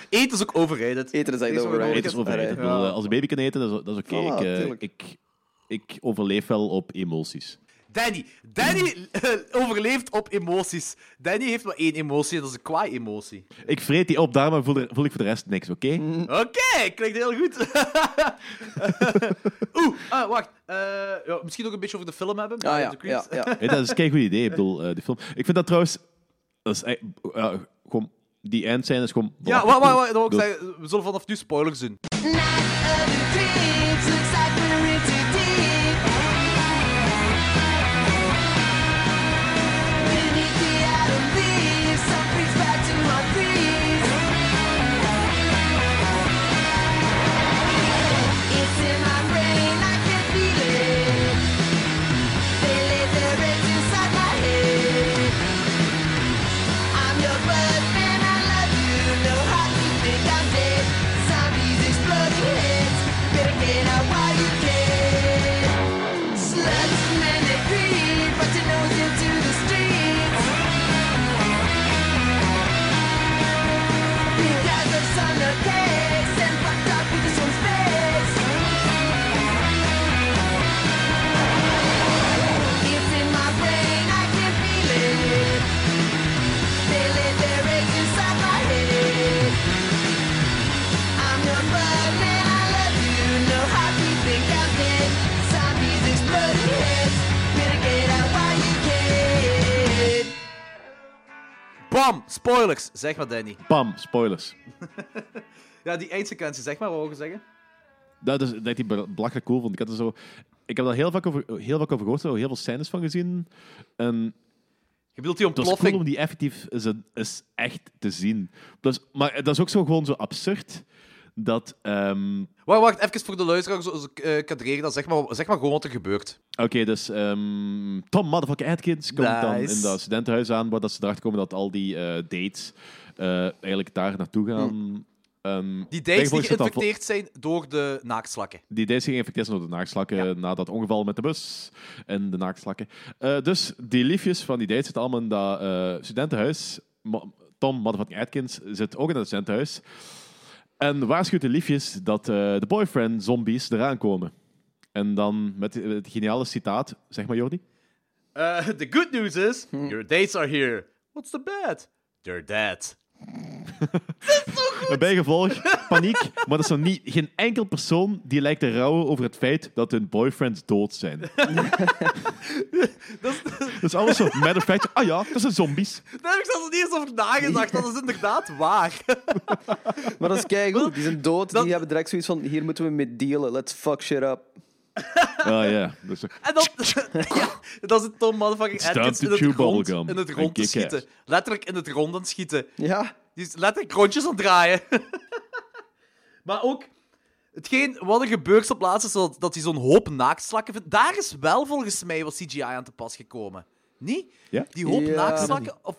Eten is ook overrated.
eh, Eten is echt
Deze
overrated.
worden
Eten is overrated. Ik
Ja.
bedoel, eh, Als een baby kan eten, dat is, dat is oké.
Voilà,
Ik, eh,
tuurlijk.
ik, ik overleef wel op emoties.
Danny. Danny eh, overleeft op emoties. Danny heeft maar één emotie en dat is een kwaai emotie.
Ik vreet die op, daarom voel, voel ik voor de rest niks, oké?
Mhm.
Oké, klinkt heel goed. Oeh, ah, wacht. Eh, ja, misschien ook een beetje over de film hebben.
Ah
eh,
ja,
The
ja,
Creeps.
ja.
Weet je, dat is een kei goed idee, ik bedoel, eh, die film. Ik vind dat trouwens... Dat is echt- ja, gewoon, die eindscène is gewoon...
Ja, wacht, wacht, wacht. Dat wou ik zeggen, we zullen vanaf nu spoilers doen.
Night of the creeps, looks like we're in too deep. Beneath the autumn leaves, something's back to our breeze. It's in my brain, I can feel it. They lay their eggs inside my head. I'm your man, I love you. No how you think I'm dead. Zombies exploding heads. Better get out while you can. Sluts and men they creep, but your nose into the streets. You guys are son of pigs and fucked up with this one's face. It's in my brain, I can feel it. Feeling their rage inside my head. I'm your man, I love you. No how you think I'm dead. Zombies exploding heads. Better get out while you can.
Bam, spoilers. Zeg maar, Danny.
Bam, spoilers.
Ja, die eindsequentie, zeg maar, wou ik zeggen.
Dat is dat ik die bel- belachelijk cool vond. Ik, had er zo, ik heb daar heel vaak over, heel vaak over gehoord, er heel veel scènes van gezien. En
Je bedoelt die
Het was cool
ontploffing.
om die effectief is, is echt te zien. Plus, maar dat is ook zo gewoon zo absurd dat. ehm,
Wacht, wacht, even voor de luisteraar. Zo, zo, eh, kadreren dat. Zeg maar, zeg maar gewoon wat er gebeurt.
Oké, dus ehm, Tom motherfucking Atkins komt dan
Nice.
in dat studentenhuis aan, waar dat ze erachter komen dat al die eh, dates eh, eigenlijk daar naartoe gaan. Eh, Ehm,
Hm. Die
Backboys
dijks die
zit dan vol-
geïnfecteerd zijn door de naaktslakken.
Die deze ging geïnfecteerd zijn door de naakslakken na dat ongeval met de bus en de naakslakken. Eh, dus die liefjes van die date zitten allemaal in dat eh, studentenhuis. Ma- Tom, motherfucking Atkins, zit ook in dat studentenhuis. En waarschuwt de liefjes dat eh, de boyfriend-zombies eraan komen. En dan met het geniale citaat, zeg maar Jordi.
Eh, the good news is,
Hm.
your dates are here. What's the bad? They're dead.
Bij gevolg, paniek, maar dat is nog niet, geen enkel persoon die lijkt te rouwen over het feit dat hun boyfriends dood zijn. dat is alles zo, matter of fact, ah ja, dat zijn zombies.
Daar heb ik zelfs niet eens over nagedacht. Dat is inderdaad waar.
Maar dat is keigoed. Die zijn dood.
Dat-
Die hebben direct zoiets van, hier moeten we mee dealen. Let's fuck shit up.
Ah ja, dus,
En dan, ja, dan zit Tom motherfucking
time
Atkins
to
in het,
chew
rond,
bubblegum
in het
and
rond te
kick
schieten.
ass.
Letterlijk in het rond aan het schieten.
Ja.
Die is letterlijk rondjes aan het draaien. maar ook, hetgeen wat er gebeurt op laatst is dat, dat hij zo'n hoop naaktslakken vindt. Daar is wel volgens mij wat CGI aan te pas gekomen. Niet?
Ja?
Die hoop
Ja.
naaktslakken? Of...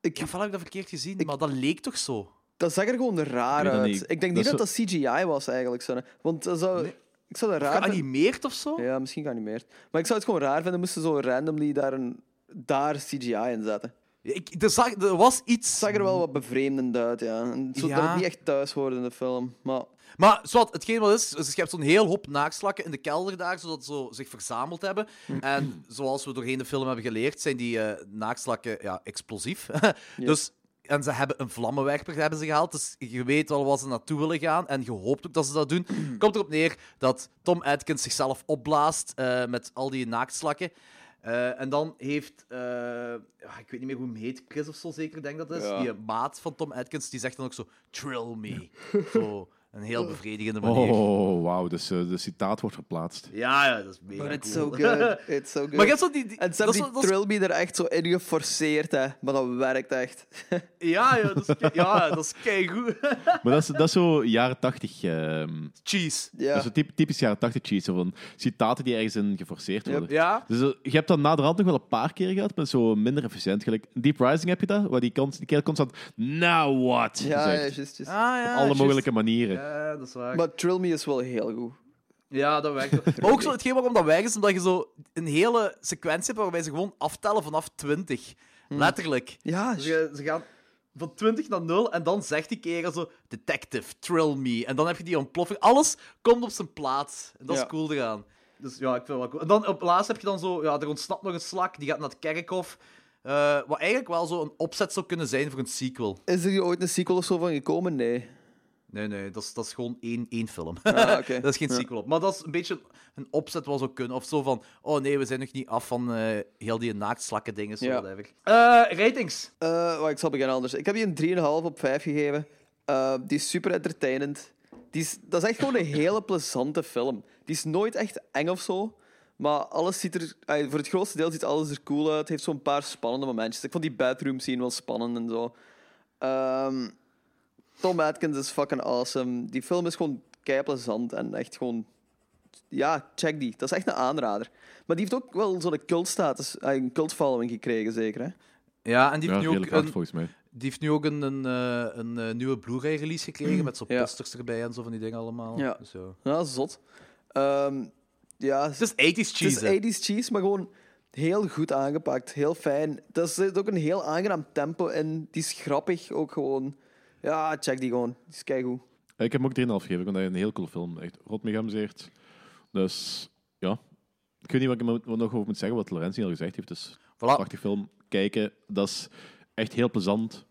Ik
Ik-
heb wel heb ik dat verkeerd gezien, maar dat leek toch zo?
Dat zag er gewoon raar
weet dat
uit.
niet.
Ik denk
Dat
niet
is
dat dat CGI was eigenlijk. Sanne. Want dat zou, ik zou dat raar vinden.
Geanimeerd of zo?
Ah, Ja, misschien geanimeerd. Maar ik zou het gewoon raar vinden moesten ze zo randomly daar, een, daar CGI in zetten.
Ik, er, zag, er was iets.
Het zag er wel wat bevreemdend uit, ja. En Zodat
Mm. Ja.
het niet echt thuis hoorde in de film. Maar
Maar zwart, hetgeen wat is, is je hebt zo'n heel hoop naakslakken in de kelder daar, zodat ze zo zich verzameld hebben. En zoals we doorheen de film hebben geleerd, zijn die eh, naakslakken ja, explosief. dus, en ze hebben een vlammenwerper hebben ze gehaald, dus je weet wel waar ze naartoe willen gaan en je hoopt ook dat ze dat doen. Komt erop neer dat Tom Atkins zichzelf opblaast eh, met al die naakslakken. Eh, en dan heeft, eh, ah, ik weet niet meer hoe hem heet, Chris of zo zeker, denk dat is.
Ja.
Die maat van Tom Atkins, die zegt dan ook zo, trill me. Zo, een heel bevredigende
Ah,
manier.
oh, wauw, dus eh, de citaat wordt geplaatst.
Ja, ja, dat is mega
but it's so
cool.
good. It's so good.
maar je hebt zo die... die
en ze
dat
hebben
is-
die
dat is-
Trilby er echt zo in geforceerd, hè. Maar dat werkt echt.
Ja, ja, dat is, ke- ja, dat is keigoed.
Maar dat is, dat is zo jaren tachtig. ehm,
Cheese.
Ja.
Dat is zo typ- typisch jaren tachtig cheese, zo van citaten die ergens in geforceerd worden.
Ja?
Dus eh, je hebt dat naderhand nog wel een paar keer gehad, maar zo minder efficiënt. Gelijk, in Deep Rising heb je dat, waar die, kans, die kerel constant now what
Ja, ja,
zegt.
juist, juist.
Ah, ja,
Alle
juist.
mogelijke manieren.
Ja, dat is waar.
Maar Trill Me is wel heel goed.
Ja, dat werkt wel. Maar ook zo, hetgeen waarom dat werkt, is omdat je zo een hele sequentie hebt waarbij ze gewoon aftellen vanaf 20. Letterlijk.
Hmm. Ja,
Dus je- ze gaan van 20 naar 0 en dan zegt die kerel zo: Detective, trill me. En dan heb je die ontploffing. Alles komt op zijn plaats. En dat
Ja.
is cool eraan. Dus ja, ik vind het wel cool. En dan op laatst heb je dan zo: ja, er ontsnapt nog een slak, die gaat naar het kerkhof. Eh, wat eigenlijk wel zo een opzet zou kunnen zijn voor een sequel.
is er hier ooit een sequel of zo van gekomen? Nee.
Nee, nee, dat is, dat is gewoon één, één film.
Ah, oké.
dat is geen sequel op. Maar dat is een beetje een opzet wat zou kunnen. Of zo van, oh nee, we zijn nog niet af van eh, heel die naaktslakken dingen. zo
Ja.
whatever. Eh, ratings.
Eh, wacht, ik zal beginnen anders. Ik heb hier een 3,5 op 5 gegeven. Eh, die is super entertainend. Die is, dat is echt gewoon een hele plezante film. Die is nooit echt eng of zo. Maar alles ziet er, ey, voor het grootste deel ziet alles er cool uit. Het heeft zo'n paar spannende momentjes. Ik vond die bathroom scene wel spannend en zo. Ehm, Tom Atkins is fucking awesome. Die film is gewoon kei plezant en echt gewoon. Ja, check die. Dat is echt een aanrader. Maar die heeft ook wel zo'n cultstatus, ey, een cultfollowing gekregen, zeker. Hè?
Ja, en die
Ja,
heeft nu ook
redelijk hard
een,
volgens mij. Eh,
Die heeft nu ook een, een, eh, een, eh, nieuwe Blu-ray-release gekregen met zo'n
Mm. Ja.
posters erbij en zo van die dingen allemaal.
Ja.
Dus, ja.
Ja, zot. Ehm, ja,
Het is 80s
het is
cheese. hè.
80s cheese, maar gewoon heel goed aangepakt. Heel fijn. Er zit ook een heel aangenaam tempo in. Die is grappig ook gewoon. Ja, check die gewoon. Die is keigoed.
Ik heb hem ook 3,5 gegeven. Ik vond dat een heel cool film. Echt rot mee geamuseerd. Dus ja. Ik weet niet wat ik er mo- nog over moet zeggen, wat Lorenzi al gezegd heeft. Dus
Voilà.
prachtig film. Kijken, dat is echt heel plezant.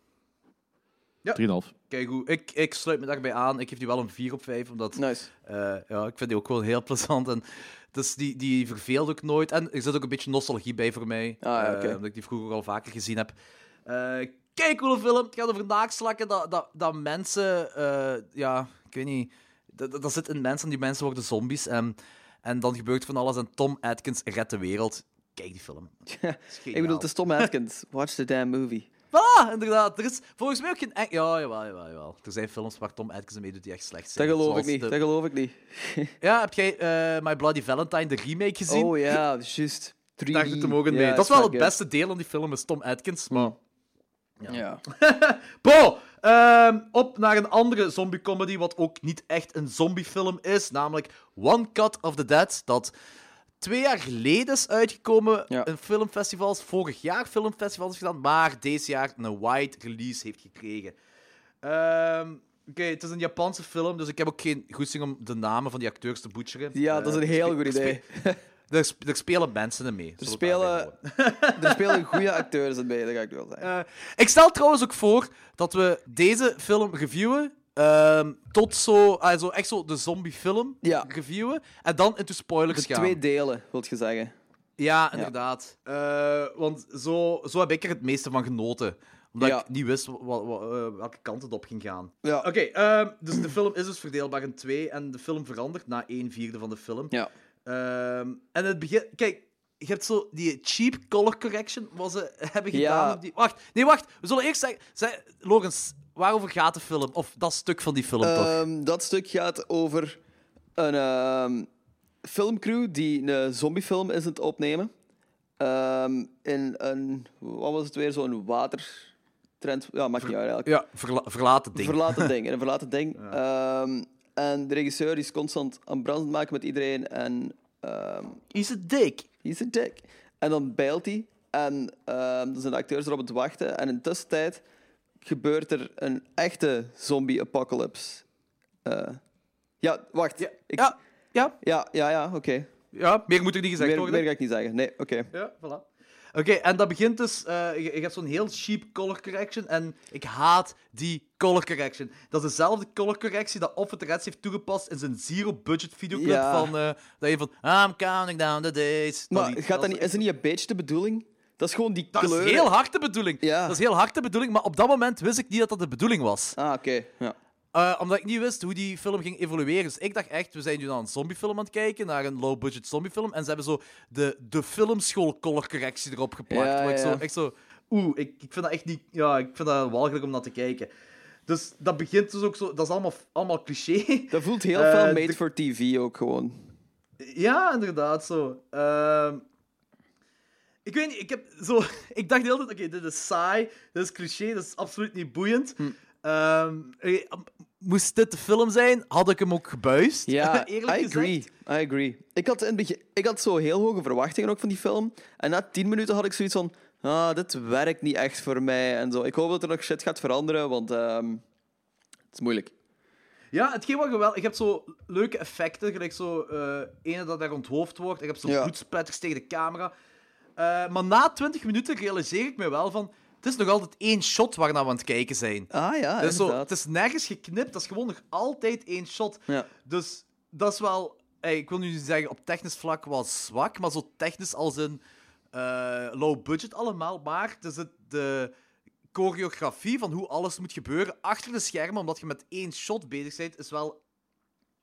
Ja.
3,5.
Kijk hoe ik, ik sluit me daarbij aan. Ik geef die wel een 4 op 5, omdat
Nice.
eh, ja, ik vind die ook gewoon heel plezant. En dus die, die verveelt ook nooit. En er zit ook een beetje nostalgie bij voor mij,
Ah, ja,
eh,
oké.
omdat ik die vroeger al vaker gezien heb. Eh kijk, coole film. Het gaat over naakslakken dat, dat, dat mensen, eh, ja, ik weet niet, dat, dat dat zit in mensen en die mensen worden zombies. En, en dan gebeurt van alles en Tom Atkins redt de wereld. Kijk die film.
Ik bedoel, het is Tom Atkins. Watch the damn movie.
Voilà, inderdaad. Er is volgens mij ook geen... en- Ja, jawel, jawel, jawel. Er zijn films waar Tom Atkins mee doet die echt slecht
Dat
zijn.
geloof ik
Zoals
niet.
de-
Dat geloof ik niet.
Ja, heb jij eh, My Bloody Valentine, de remake, gezien?
Oh ja, juist. Drie.
Daar zit hem ook in mee.
Ja,
dat is wel het
fuck, ja. Hmm.
beste deel van die film, is Tom Atkins. Maar...
Ja.
Bo, eh, Ehm, op naar een andere zombie-comedy, wat ook niet echt een zombiefilm is, namelijk One Cut of the Dead, dat twee jaar geleden is uitgekomen
Ja.
in filmfestivals, vorig jaar filmfestivals is gedaan, maar deze jaar een wide release heeft gekregen. Ehm, Oké, het is een Japanse film, dus ik heb ook geen goesting om de namen van die acteurs te butcheren.
Ja, dat is een
Eh,
heel
spe-
goed
spe-
idee.
Er, sp- er spelen mensen in mee.
Er
zullen we het daarmee
spelen,
houden.
er spelen goede acteurs in mee, dat ga ik wel zeggen.
Eh, ik stel trouwens ook voor dat we deze film reviewen. ehm, tot zo, ah, zo, echt zo de zombiefilm
Ja.
reviewen. En dan into
De
spoilers gaan.
twee delen, wil je zeggen.
Ja, inderdaad. Eh, want zo, zo heb ik er het meeste van genoten. Omdat
Ja.
ik niet wist wa- wa- wa- eh, welke kant het op ging gaan.
Ja.
Oké, ehm, dus de film is dus verdeelbaar in twee. En de film verandert na een vierde van de film.
Ja.
Ehm, en het begin... Kijk, je hebt zo die cheap color correction wat ze hebben
Ja.
gedaan. op Die... Wacht, nee, wacht. We zullen eerst zeggen... Zij... Logans, waarover gaat de film? Of dat stuk van die film, toch?
Ehm, dat stuk gaat over een ehm, filmcrew die een zombiefilm is aan het opnemen. Ehm, in een, wat was het weer, zo'n watertrend? Ja, maakt niet uit eigenlijk.
Ja, verla verlaten ding.
Verlaten ding, in een verlaten ding. Ehm, en de regisseur die is constant aan brand maken met iedereen en ehm
Is het dik?
he's a dick. En dan bijlt hij en ehm, dan zijn de acteurs erop aan het wachten. En in de tussentijd gebeurt er een echte zombie-apocalypse. Eh, ja, wacht.
Ja,
Ik-
ja, ja,
ja, ja, ja, oké.
ja, meer moet er niet gezegd
Meer,
worden.
meer ga ik niet zeggen. Nee, oké.
Ja, voilà. Oké, en dat begint dus... eh je, je hebt zo'n heel cheap color correction en ik haat die color correction. Dat is dezelfde color correctie dat Offen Reds heeft toegepast in zijn zero-budget videoclip
Ja.
van... eh, dat je van, I'm counting down the days. Dat
Maar
lied.
gaat dat
is
niet,
echt
is dat niet een beetje de bedoeling? Dat is gewoon die
Dat
kleur.
is heel hard de bedoeling.
Ja.
Dat is heel hard de bedoeling, maar op dat moment wist ik niet dat dat de bedoeling was.
Ah, oké. Ja.
Eh, omdat ik niet wist hoe die film ging evolueren. Dus ik dacht echt, we zijn nu naar een zombiefilm aan het kijken, naar een low-budget zombiefilm. En ze hebben zo de, de filmschool color correctie erop geplakt.
Ja,
Waar ik zo,
ja.
echt zo... Oeh, ik, ik vind dat echt niet... Ja, ik vind dat walgelijk om naar te kijken. Dus dat begint dus ook zo... Dat is allemaal, allemaal cliché.
Dat voelt heel
Eh,
veel
de-
made for TV ook gewoon.
Ja, inderdaad, zo. Ehm, ik weet niet, ik heb zo... Ik dacht de hele tijd, oké, dit is saai, dit is cliché, dit is absoluut niet boeiend.
Hm.
Ehm, eh, moest dit de film zijn, had ik hem ook gebuist,
Ja, I
eerlijk gezegd.
agree. I agree. Ik had, in het begin, ik had zo heel hoge verwachtingen ook van die film. En na tien minuten had ik zoiets van... Ah, dit werkt niet echt voor mij. En zo. Ik hoop dat er nog shit gaat veranderen, want... ehm, het is moeilijk.
Ja, hetgeen wat geweldig... Ik heb zo leuke effecten, gelijk zo... eh ene dat daar onthoofd wordt, ik heb zo
Ja.
bloedspetters tegen de camera. Eh, maar na 20 minuten realiseer ik me wel van... Het is nog altijd één shot waarna we aan het kijken zijn.
Ah ja,
Dus zo,
inderdaad.
het is nergens geknipt, dat is gewoon nog altijd één shot.
Ja.
Dus dat is wel, ey, ik wil nu niet zeggen op technisch vlak wel zwak, maar zo technisch als een eh, low budget allemaal. Maar het is het, de choreografie van hoe alles moet gebeuren achter de schermen, omdat je met één shot bezig bent, is wel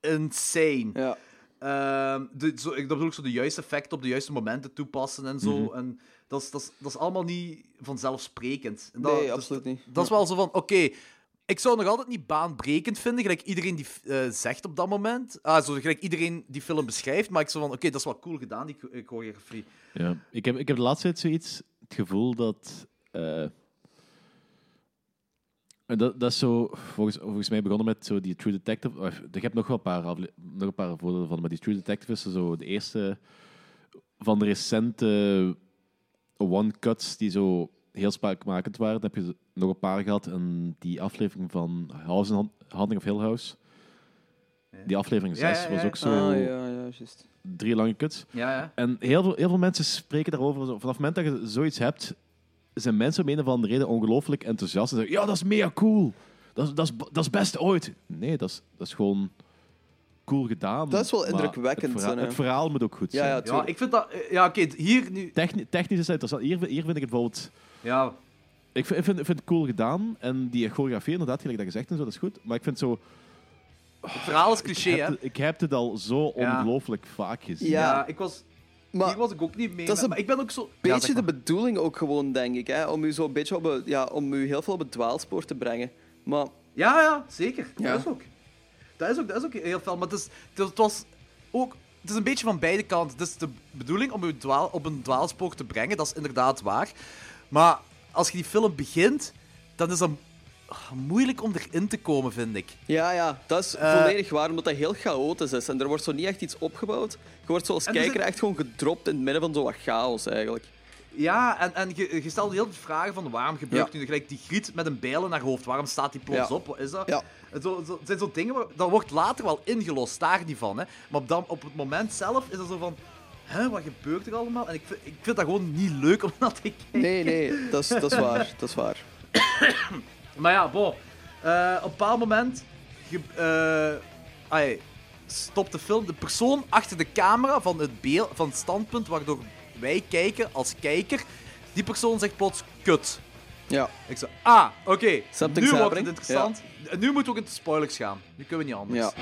insane.
Ja.
Ehm, de, zo, ik dat bedoel ik zo de juiste effecten op de juiste momenten toepassen en zo.
Mhm.
En dat is, dat, is, dat is allemaal niet vanzelfsprekend. En dat,
Nee,
dus
absoluut niet.
Dat is wel zo van, oké, ik zou nog altijd niet baanbrekend vinden, gelijk iedereen die eh, zegt op dat moment. Ah, zo, gelijk iedereen die film beschrijft, maar ik zo van, oké, dat is wel cool gedaan, die cho- eh, choreografie.
Ja. Ik, heb, ik heb de laatste tijd zoiets het gevoel dat. eh, en dat, dat is zo, volgens, volgens mij begonnen met zo die True Detective. of, Ik heb nog wel een paar, afle- nog een paar voordelen van, maar die True Detective is zo de eerste van de recente one-cuts die zo heel spraakmakend waren. Dan heb je nog een paar gehad en die aflevering van House and Hunting of Hill House. Die aflevering
Ja,
6
ja,
was
ja.
ook zo
Ah ja, ja, juist.
drie lange cuts.
Ja, ja.
En heel veel, heel veel mensen spreken daarover. Zo, Vanaf het moment dat je zoiets hebt, zijn mensen om een of andere reden ongelooflijk enthousiast. En zeggen, ja, dat is mega cool. Dat, is- dat, is, dat is best ooit. Nee, dat is, dat is gewoon cool gedaan.
Dat is wel
maar
indrukwekkend,
Het verhaal,
hè?
het verhaal moet ook goed
Ja,
zijn.
ja,
Ja,
tuurlijk.
ik vind dat... eh, Ja, oké, hier nu...
Techni- technisch is het interessant. Hier, hier vind ik het bijvoorbeeld...
Ja,
Ik vind, ik vind, ik vind het cool gedaan. En die choreografie, inderdaad, gelijk dat gezegd en zo, dat is goed. Maar ik vind zo...
het verhaal is cliché,
ik,
hè.
heb het, ik heb dit al zo
Ja.
ongelooflijk vaak gezien.
Ja,
Ja.
ik was...
Maar
Hier was ik ook niet mee,
dat
met-
is een
maar ik ben ook zo... Ja,
beetje
zeg
de
maar.
bedoeling ook gewoon, denk ik. Hè? Om u zo een beetje op een, ja, om u heel veel op het dwaalspoor te brengen. Maar
Ja, ja, zeker.
Ja.
Dat is ook. Dat is ook, dat is ook heel fel. Maar het, is, het, het was ook... Het is een beetje van beide kanten. Het is de bedoeling om je dwaal, op een dwaalspoor te brengen. Dat is inderdaad waar. Maar als je die film begint, dan is dat... ah, moeilijk om erin te komen, vind ik.
Ja, ja, dat is
Eh.
volledig waar, omdat dat heel chaotisch is. En er wordt zo niet echt iets opgebouwd. Je wordt zo als
En er
kijker
zit-
echt gewoon gedropt in het midden van zo wat chaos, eigenlijk.
Ja, en, en je, je stelde heel veel vragen van waarom gebeurt
Ja.
nu gelijk die griet met een bijl in haar hoofd? Waarom staat die plots
Ja.
op? Wat is dat?
Ja.
Het zo, zo, het zijn zo dingen, waar, dat wordt later wel ingelost, daar niet van. Hè. Maar op, dat, op het moment zelf is dat zo van, hè, wat gebeurt er allemaal? En ik, vind- ik vind dat gewoon niet leuk om dat te kijken.
Nee, nee, dat is, dat is waar. Dat is waar.
Maar ja, bon. Eh, op een bepaald moment ge- eh, ai, stopt de film. De persoon achter de camera van het, beeld, van het standpunt waardoor wij kijken als kijker, die persoon zegt plots kut.
Ja.
Ik zei, ah, oké,
Something's
nu wordt het
happening.
interessant. En Nu moeten we ook in de spoilers gaan. Nu kunnen we niet anders.
Ja.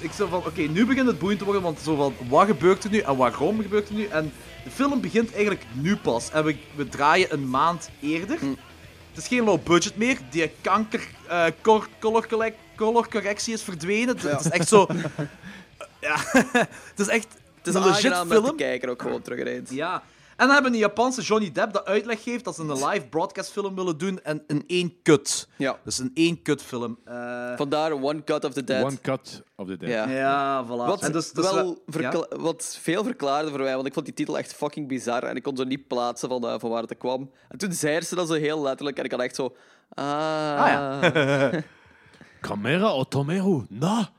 Ik zei van, oké, nu begint het boeiend te worden, want zo van, wat gebeurt er nu en waarom gebeurt er nu? En de film begint eigenlijk nu pas. En we, we draaien een maand eerder.
Hm.
Het is geen low budget meer. Die kanker eh, cor- color, collect- color correctie is verdwenen. Het- Het is echt zo... ja, het is echt
Het is
een legit
aangenaam dat de
film.
kijker ook gewoon terug eens.
Ja. En dan hebben we een Japanse Johnny Depp dat uitleg geeft dat ze een live broadcast film willen doen en een één kut.
Ja.
Dus een één kut film. Eh,
Vandaar One Cut of the Dead.
One cut of the day.
Ja.
ja, voilà.
Wat,
en dus, dus
wel
we-
verkla- wat veel verklaarde voor mij, want ik vond die titel echt fucking bizar en ik kon zo niet plaatsen van, eh, van waar het kwam. En toen zei ze dat zo heel letterlijk en ik had echt zo... Ah,
ja.
Camera Otomeru, na!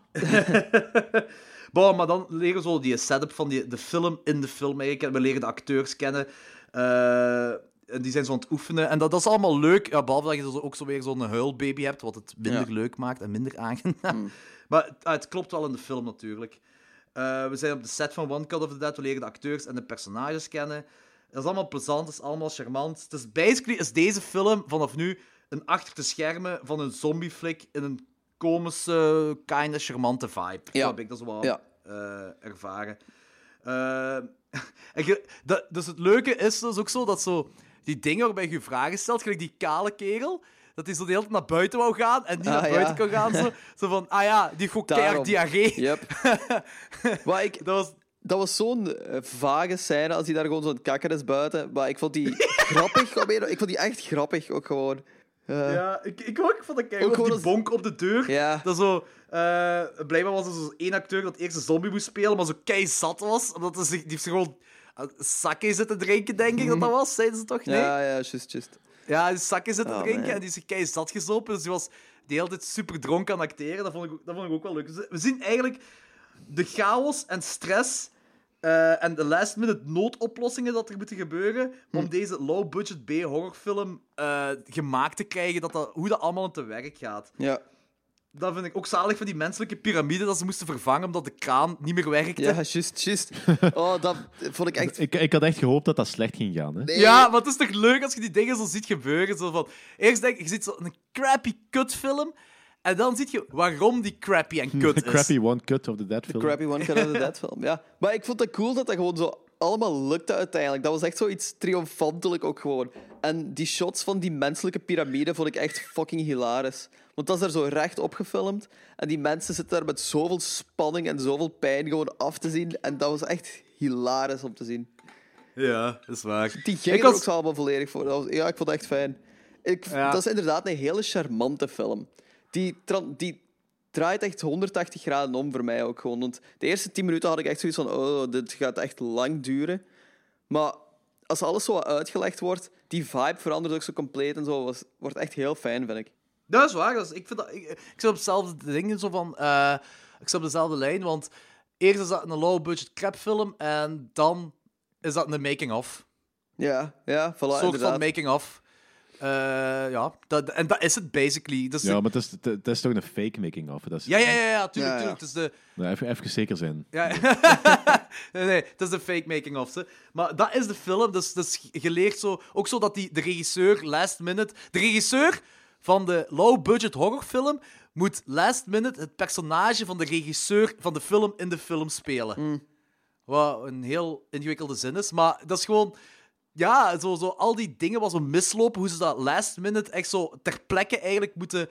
Bon, maar dan leren we zo die setup van die, de film in de film eigenlijk. En We leren de acteurs kennen. Eh, en die zijn zo aan het oefenen. En dat, dat is allemaal leuk. Ja, behalve dat je zo, ook zo weer zo'n huilbaby hebt, wat het minder
Ja.
leuk maakt en minder aangenaam. Maar het- ah, het klopt wel in de film natuurlijk. Eh, we zijn op de set van One Cut of the Dead. We leren de acteurs en de personages kennen. Dat is allemaal plezant, dat is allemaal charmant. Het is basically is deze film vanaf nu een achter de schermen van een zombieflik in een komische, kinda charmante vibe.
Ja.
Zo heb ik dat zo wel
Ja.
eh, ervaren. Eh, en je- dat, dus het leuke is dus ook zo dat zo die dingen waarbij je je vragen stelt, gelijk die kale kerel, dat hij zo de hele tijd naar buiten wou gaan en niet
Ah,
naar buiten
ja.
kon gaan. Zo, zo van, ah ja, die goed
Daarom.
keihard diarree.
Yep. Maar ik,
Dat was
dat was zo'n eh, vage scène als hij daar gewoon zo'n kakker is buiten. Maar ik vond die grappig. op een- Ik vond die echt grappig ook gewoon. Eh,
Ja, ik, ik ook van de kijken.
Ook
Ook die
gewoon als-
bonk op de deur.
Ja.
Dat zo, eh, blijkbaar was er zo één acteur dat eerst een zombie moest spelen, maar zo kei zat was. Omdat hij zich, die heeft zich gewoon eh, sake zitten drinken, denk ik dat dat was. Zeiden ze toch? Nee?
Ja,
Ja,
ja, just, just.
die sake zitten
Oh,
drinken
man.
en die is zich kei zat gezopen. Dus die was de hele tijd super dronken aan het acteren. Dat vond, ik, ook- dat vond ik ook wel leuk. Dus we zien eigenlijk de chaos en stress... eh, en de last minute noodoplossingen dat er moeten gebeuren om deze low-budget B-horrorfilm eh, gemaakt te krijgen, dat dat, hoe dat allemaal te werk gaat.
Ja,
Dat vind ik ook zalig van die menselijke piramide dat ze moesten vervangen omdat de kraan niet meer werkte.
ja
Ja,
just, just. Oh, dat vond ik echt...
Ik, ik had echt gehoopt dat dat slecht ging gaan. Hè?
maar het is toch leuk als je die dingen zo ziet gebeuren. Zo van, eerst denk ik, je ziet zo'n crappy kutfilm en dan zie je waarom die crappy en kut is.
Crappy One Cut of the Dead film.
Crappy One Cut of the Dead film, ja. Maar ik vond dat cool dat dat gewoon zo allemaal lukte uiteindelijk. Dat was echt zoiets triomfantelijk ook gewoon. En die shots van die menselijke piramide vond ik echt fucking hilarisch. Want dat is daar zo recht op gefilmd. En die mensen zitten daar met zoveel spanning en zoveel pijn gewoon af te zien. En dat was echt hilarisch om te zien.
Ja, dat is waar.
Die
Ik
ging
was-
er ook zo allemaal volledig voor. Dat was, ja, ik vond het echt fijn. Ik,
Ja.
Dat is inderdaad een hele charmante film. Die, tran- die draait echt 180 graden om voor mij ook gewoon. Want de eerste 10 minuten had ik echt zoiets van... Oh, dit gaat echt lang duren. Maar als alles zo wat uitgelegd wordt, die vibe verandert ook zo compleet en zo. Was, wordt echt heel fijn, vind ik.
Dat is waar. Dat is, ik, vind dat, ik, ik zit op hetzelfde ding, zo van... eh, ik zit op dezelfde lijn, want eerst is dat een low-budget crapfilm en dan is dat een making-of.
Ja, ja, voilà,
Een soort
inderdaad.
van making-of. Eh, ja, dat, en dat is het basically. Dat is
Ja,
de-
maar het is, het- het is toch een fake making of. Dat is,
ja, ja, ja, ja, tuurlijk,
Ja, ja.
tuurlijk. Het is de...
Nou, even, even zeker zijn.
Ja, nee, nee, het is de fake making-of. ze. Maar dat is de film, dus, dus geleerd zo... Ook zo dat die, de regisseur last minute... De regisseur van de low-budget horrorfilm moet last minute het personage van de regisseur van de film in de film spelen. Wat een heel ingewikkelde zin is, maar dat is gewoon... Ja, zo, zo al die dingen wat zo mislopen, hoe ze dat last minute echt zo ter plekke eigenlijk moeten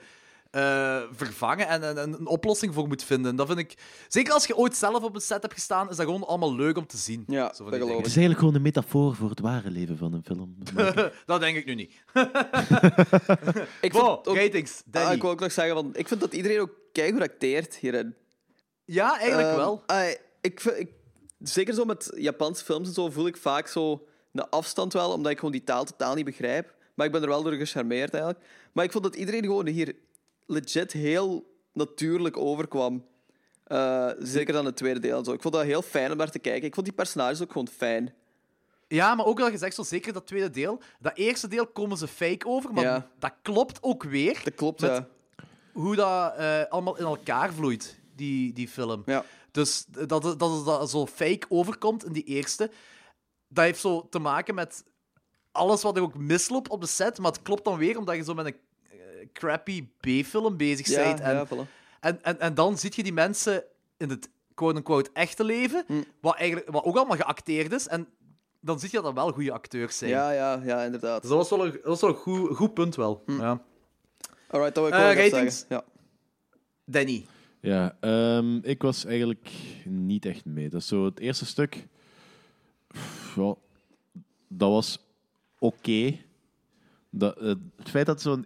eh, vervangen en, en, en een oplossing voor moet vinden. Dat vind ik... Zeker als je ooit zelf op een set hebt gestaan, is dat gewoon allemaal leuk om te zien.
Ja,
Zo van
dat
die
geloof ik.
Het is eigenlijk gewoon een metafoor voor het ware leven van een film.
dingen. Dat denk ik nu niet.
Ik vind
Wow,
ook-
ratings, Danny.
Ah, ik wil ook nog zeggen, want ik vind dat iedereen ook keihard acteert hierin.
Ja, eigenlijk
Ehm,
wel.
ah, ik, vind- ik- zeker zo met Japanse films en zo voel ik vaak zo een afstand wel, omdat ik gewoon die taal totaal niet begrijp. Maar ik ben er wel door gecharmeerd eigenlijk. Maar ik vond dat iedereen gewoon hier legit heel natuurlijk overkwam. Eh, zeker dan het tweede deel. en Zo. Ik vond dat heel fijn om naar te kijken. Ik vond die personages ook gewoon fijn.
Ja, maar ook al gezegd, zo zeker dat tweede deel. Dat eerste deel komen ze fake over, maar
Ja.
dat klopt ook weer.
Dat klopt,
Met-
ja.
hoe dat eh, allemaal in elkaar vloeit, die, die film.
Ja.
Dus dat, dat, dat dat zo fake overkomt in die eerste, dat heeft zo te maken met alles wat er ook misloopt op de set, maar het klopt dan weer omdat je zo met een eh, crappy B-film bezig
Ja,
bent. En,
ja, voilà.
en, en, en dan zie je die mensen in het quote-unquote echte leven,
Mm.
wat, eigenlijk, wat ook allemaal geacteerd is, en dan zie je dat dat wel goede acteurs zijn.
ja, ja, ja, inderdaad.
Dus dat was wel een, dat was wel een goed, goed punt wel.
Mm.
Ja.
Alright, dat wil ik
Eh,
wel nog
ratings?
zeggen. Ja.
Danny.
Ja, ehm, ik was eigenlijk niet echt mee. Dat is zo het eerste stuk. pff, ja, dat was oké. Dat, eh, het feit dat het zo'n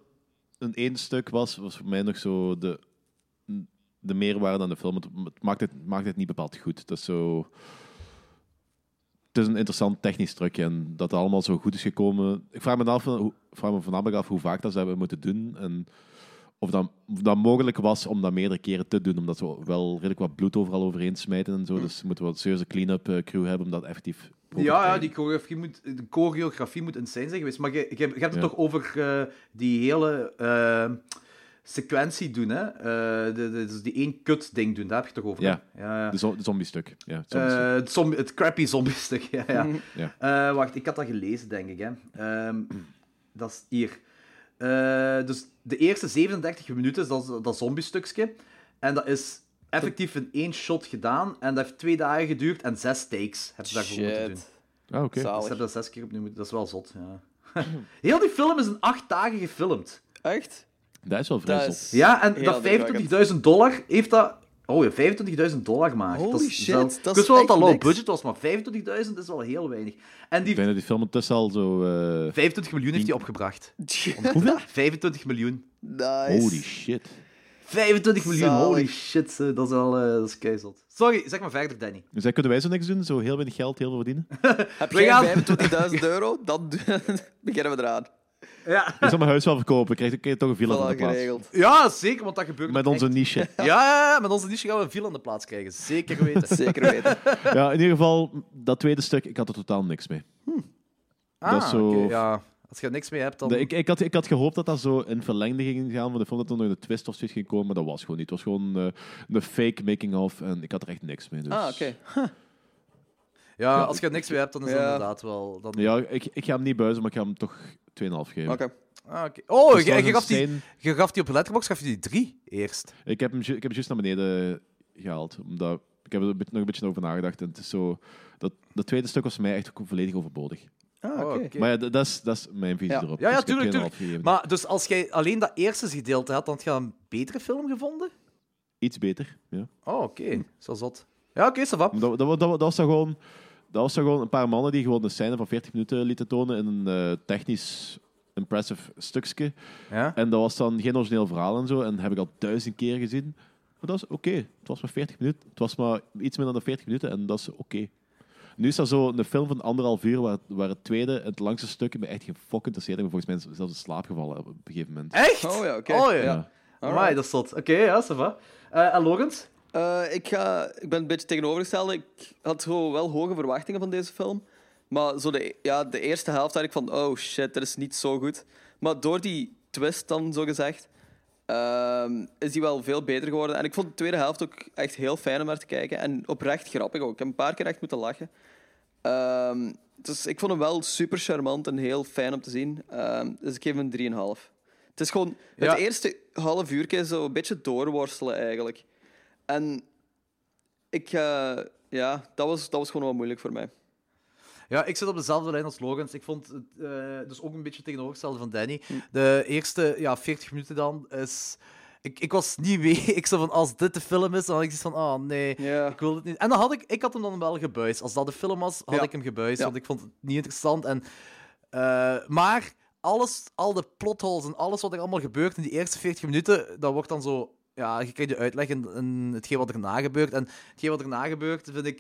een één stuk was, was voor mij nog zo de, de meerwaarde aan de film. Het, het maakt het het maakt het niet bepaald goed. Dat is zo. Het is een interessant technisch trucje en dat het allemaal zo goed is gekomen. Ik vraag me, af, hoe- ik vraag me voornamelijk af hoe vaak dat ze hebben moeten doen. En of dat, of dat mogelijk was om dat meerdere keren te doen, omdat ze wel redelijk wat bloed overal overheen smijten en zo. Dus ze moeten wel een serieuze clean-up eh, crew hebben om dat effectief te
Ja, ja
krijgen.
die choreografie moet, de choreografie moet insane zijn geweest. Maar je, je, je hebt het
Ja.
toch over eh, die hele eh, sequentie doen, hè? Eh, de, de- dus die één kut ding doen, daar heb je het toch over? hè?
Ja.
ja, ja.
De, zo- de zombie-stuk. Ja, het
Eh,
zombie-stuk.
het, zombie- het crappy zombie-stuk. Ja, ja.
Mm. Ja.
Eh, wacht, ik had dat gelezen, denk ik. Hè. Ehm, dat is hier. Eh, dus de eerste 37 minuten is dat, dat zombie-stukje. En dat is effectief in één shot gedaan. En dat heeft twee dagen geduurd en zes takes hebben ze daarvoor moeten doen.
Shit.
Ah, oké.
Dus ze
Zalig.
hebben dat zes keer opnieuw moeten... Dat is wel zot, ja. Heel die film is in acht dagen gefilmd.
Echt?
Dat is wel vrij
Dat
zot.
is...
Ja, en
Heel
dat 25.000 dollar heeft dat... Oh ja, 25.000 dollar gemaakt.
Holy
dat is
shit,
wel-
dat
Ik
is
wist wel dat
echt
dat low
niks.
budget was, maar 25.000 is wel heel weinig. En die
Ik denk dat die film ondertussen al zo... eh,
25 miljoen heeft hij opgebracht.
Hoeveel?
25 miljoen.
nice.
Holy shit.
25 miljoen,
Zalig.
holy shit. eh, Dat is wel... eh, dat is keizeld. Sorry, zeg maar verder, Danny.
Dus daar kunnen wij zo niks doen? Zo heel weinig geld, heel veel verdienen?
Heb
We gaan-
jij 25.000 euro? Dan beginnen we eraan.
Ja,
Ik zal mijn huis wel verkopen. Ik krijg een keer toch een villa van de
Voilà,
plaats.
geregeld.
ja zeker, want dat gebeurt
Met
ook
onze
echt.
niche.
Ja, ja, ja, met onze niche gaan we een viel aan de plaats krijgen. Zeker weten.
Zeker weten.
Ja, in ieder geval, dat tweede stuk, ik had er totaal niks mee. Dat is zo-
Ah, oké, ja. Als je er niks mee hebt, dan...
De- ik, ik, had, ik had gehoopt dat dat zo in verlengde ging gaan van de film, dat er nog een twist of zoiets ging komen, maar dat was gewoon niet. Het was gewoon eh, een fake making-of en ik had er echt niks mee. Dus.
Ah, oké.
Ja, als je er niks mee hebt, dan is dat
Ja.
inderdaad wel... Dan...
Ja, ik, ik ga hem niet buizen, maar ik ga hem toch 2,5 geven.
Oké.
Ah, oké. Oh,
Dus
je,
dat is
je
een
gaf die,
steen.
je gaf die op Letterboxd gaf je die drie eerst.
Ik heb hem ju- ik heb hem juist naar beneden gehaald. Omdat ik heb er een beetje- nog een beetje over nagedacht. En het is zo, dat, dat tweede stuk was voor mij echt ook volledig overbodig.
Ah, oké.
Oh, oké.
Maar ja, dat- dat is, dat is mijn visie
Ja.
erop.
Ja, ja,
Dus ik heb
tuurlijk,
2,5
tuurlijk.
gegeven.
Maar dus als jij alleen dat eerste gedeelte had, dan had je een betere film gevonden?
Iets beter. Ja.
Oh, oké. Zo zot. Ja, oké, ça va.
Dat, dat, dat, dat was dan gewoon... Dat was dan gewoon een paar mannen die gewoon een scène van 40 minuten lieten tonen in een eh, technisch impressive stukje.
Ja.
En dat was dan geen origineel verhaal en zo. En dat heb ik al duizend keer gezien. Maar dat is oké. Het was maar 40 minuten. Het was maar iets minder dan 40 minuten en dat is oké. Nu is dat zo een film van anderhalf uur, waar, waar het tweede, het langste stuk, me echt gefokt interesseert. Ik ben volgens mij zelfs in slaap gevallen op een gegeven moment.
Echt?
Oh ja, oké.
Oh
Ja.
ja. Amai, dat is zot. Oké, ja, ça va. Eh, en Logans?
Eh, ik, ga, ik ben een beetje tegenovergesteld. Ik had zo wel hoge verwachtingen van deze film. Maar zo de, ja, de eerste helft had ik van, oh shit, dat is niet zo goed. Maar door die twist dan, zo gezegd, ehm, is die wel veel beter geworden. En ik vond de tweede helft ook echt heel fijn om naar te kijken. En oprecht grappig ook. Ik heb een paar keer echt moeten lachen. Ehm, dus ik vond hem wel super charmant en heel fijn om te zien. Ehm, dus ik geef hem een 3,5. Het is gewoon
Ja.
het eerste half uurtje zo een beetje doorworstelen eigenlijk. En ik, eh, ja, dat was, dat was gewoon wel moeilijk voor mij.
Ja, ik zit op dezelfde lijn als Logans. Ik vond het eh, dus ook een beetje tegenovergestelde van Danny.
Hm.
De eerste ja, 40 minuten dan is. Ik, ik was niet mee. Ik zei van als dit de film is, dan had ik zoiets van oh nee,
Ja.
ik wil het niet. En dan had ik, ik had hem dan wel gebuist. Als dat de film was, had
Ja.
ik hem gebuist.
Ja.
Want ik vond het niet interessant. En, eh, maar alles, al de plotholes en alles wat er allemaal gebeurt in die eerste 40 minuten, dat wordt dan zo. Ja, je krijgt de uitleg in, in hetgeen wat erna gebeurt. En hetgeen wat erna gebeurt, vind ik.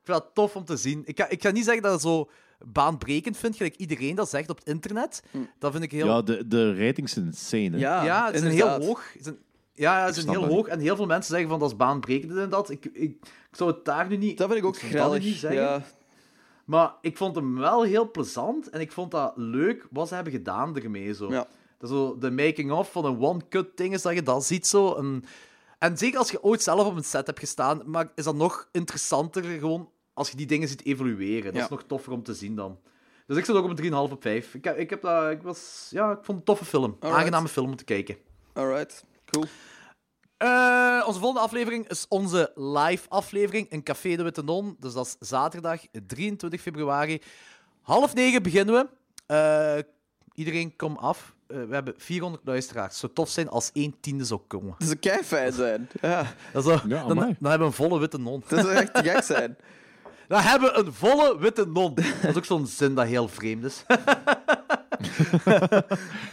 Ik vind dat tof om te zien. Ik ga, ik ga niet zeggen dat het zo baanbrekend vind, gelijk iedereen dat zegt op het internet.
Hm.
Dat vind ik heel...
Ja, de, de ratings zijn insane. Hè?
Ja, het is een heel
inderdaad.
hoog. Het is een- ja, ja, het is een
snap
heel
dat
hoog. En heel veel mensen zeggen van dat is baanbrekend en dat. Ik, ik, ik zou het daar nu niet...
Dat vind ik ook
zou dat nu
grellig.
niet zeggen.
Ja,
Maar ik vond hem wel heel plezant en ik vond dat leuk wat ze hebben gedaan ermee. Zo.
Ja.
Dat is zo de making-of van een one-cut ding is dat je dat ziet zo. En, en zeker als je ooit zelf op een set hebt gestaan, maar is dat nog interessanter gewoon als je die dingen ziet evolueren. Dat
Ja.
is nog toffer om te zien dan. Dus ik zit ook op een 3,5 op 5. Ik, heb- ik, heb dat, ik, was, ja, ik vond het een toffe film.
Alright.
Aangename film om te kijken.
alright. Cool.
Eh, onze volgende aflevering is onze live aflevering in Café de Witte Non. Dus dat is zaterdag 23 februari. Half negen beginnen we. Eh, iedereen, kom af. Eh, we hebben 400 luisteraars. Zou tof zijn als één tiende zou komen.
Dat zou kei fijn zijn. Ja,
Dat
Ja,
zou- dan, dan
amai.
hebben we een volle witte non.
dat zou echt te gek zijn.
Dan hebben we een volle witte non. Dat is ook zo'n zin dat heel vreemd is.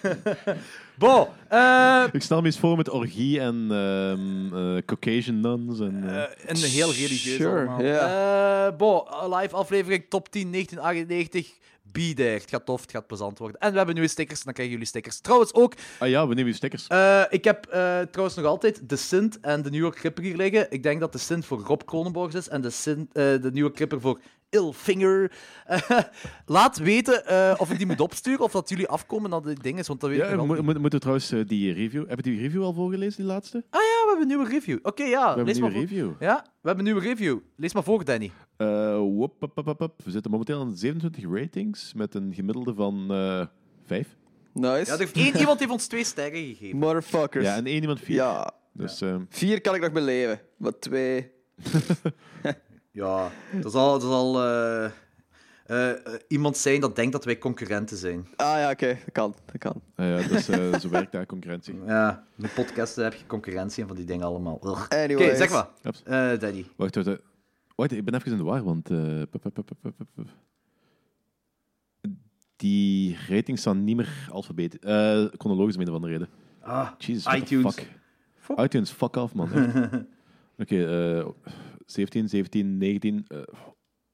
Bo, eh,
Ik stel me eens voor met orgie en ehm, eh, Caucasian nuns. En, eh,
Eh, en heel religieus
Sure,
allemaal. Eh, bo, live aflevering top 10 1998. Be there. Het gaat tof, het gaat plezant worden. En we hebben nieuwe stickers, dan krijgen jullie stickers. Trouwens ook,
Ah ja, we nemen je stickers.
eh, ik heb eh, trouwens nog altijd de Sint en de nieuwe Cripper hier liggen. Ik denk dat de Sint voor Rob Kronenborgs is en de, Sint, eh, de nieuwe Cripper voor Ilfinger. Eh, laat weten eh, of ik die moet opsturen of dat jullie afkomen naar die dingen, want dat weet
ja,
ik nog
mo-
eh, wel
mo-
niet.
moeten we trouwens eh, die review... Hebben die review al voorgelezen, die laatste? We
Ah ja, we hebben een nieuwe review. Oké, ja,
hebben
lees
een
maar
nieuwe
voor.
review.
Ja, we hebben een nieuwe review. Lees maar voor, Danny.
Eh, wop, pop, pop, pop. We zitten momenteel aan 27 ratings met een gemiddelde van eh 5.
Nice.
Ja, er heeft één iemand heeft ons twee sterren gegeven.
Motherfuckers.
Ja,
Ja,
en één iemand 4. Dus ehm,
vier kan ik nog beleven. Maar twee...
Ja, dat zal, dat zal eh, eh, eh, iemand zijn dat denkt dat wij concurrenten zijn.
Ah ja, oké. Dat kan. Dat kan.
nou ja, dat is, eh, zo werkt daar concurrentie.
Ja, met podcasten heb je concurrentie en van die dingen allemaal. Ugh. Oké,
Anyways.
zeg maar.
Ups.
Eh Daddy.
Wacht, wacht, wacht. Wacht, ik ben even in de war, want... eh, pop, pop, pop, pop, pop, pop. Die ratings staan niet meer alfabetisch. eh chronologisch om een of andere reden.
Ah,
Jesus, what the
iTunes.
Fuck.
Fuck.
iTunes, fuck off, man. echt. Oké, eh, 17, 17, 19, eh,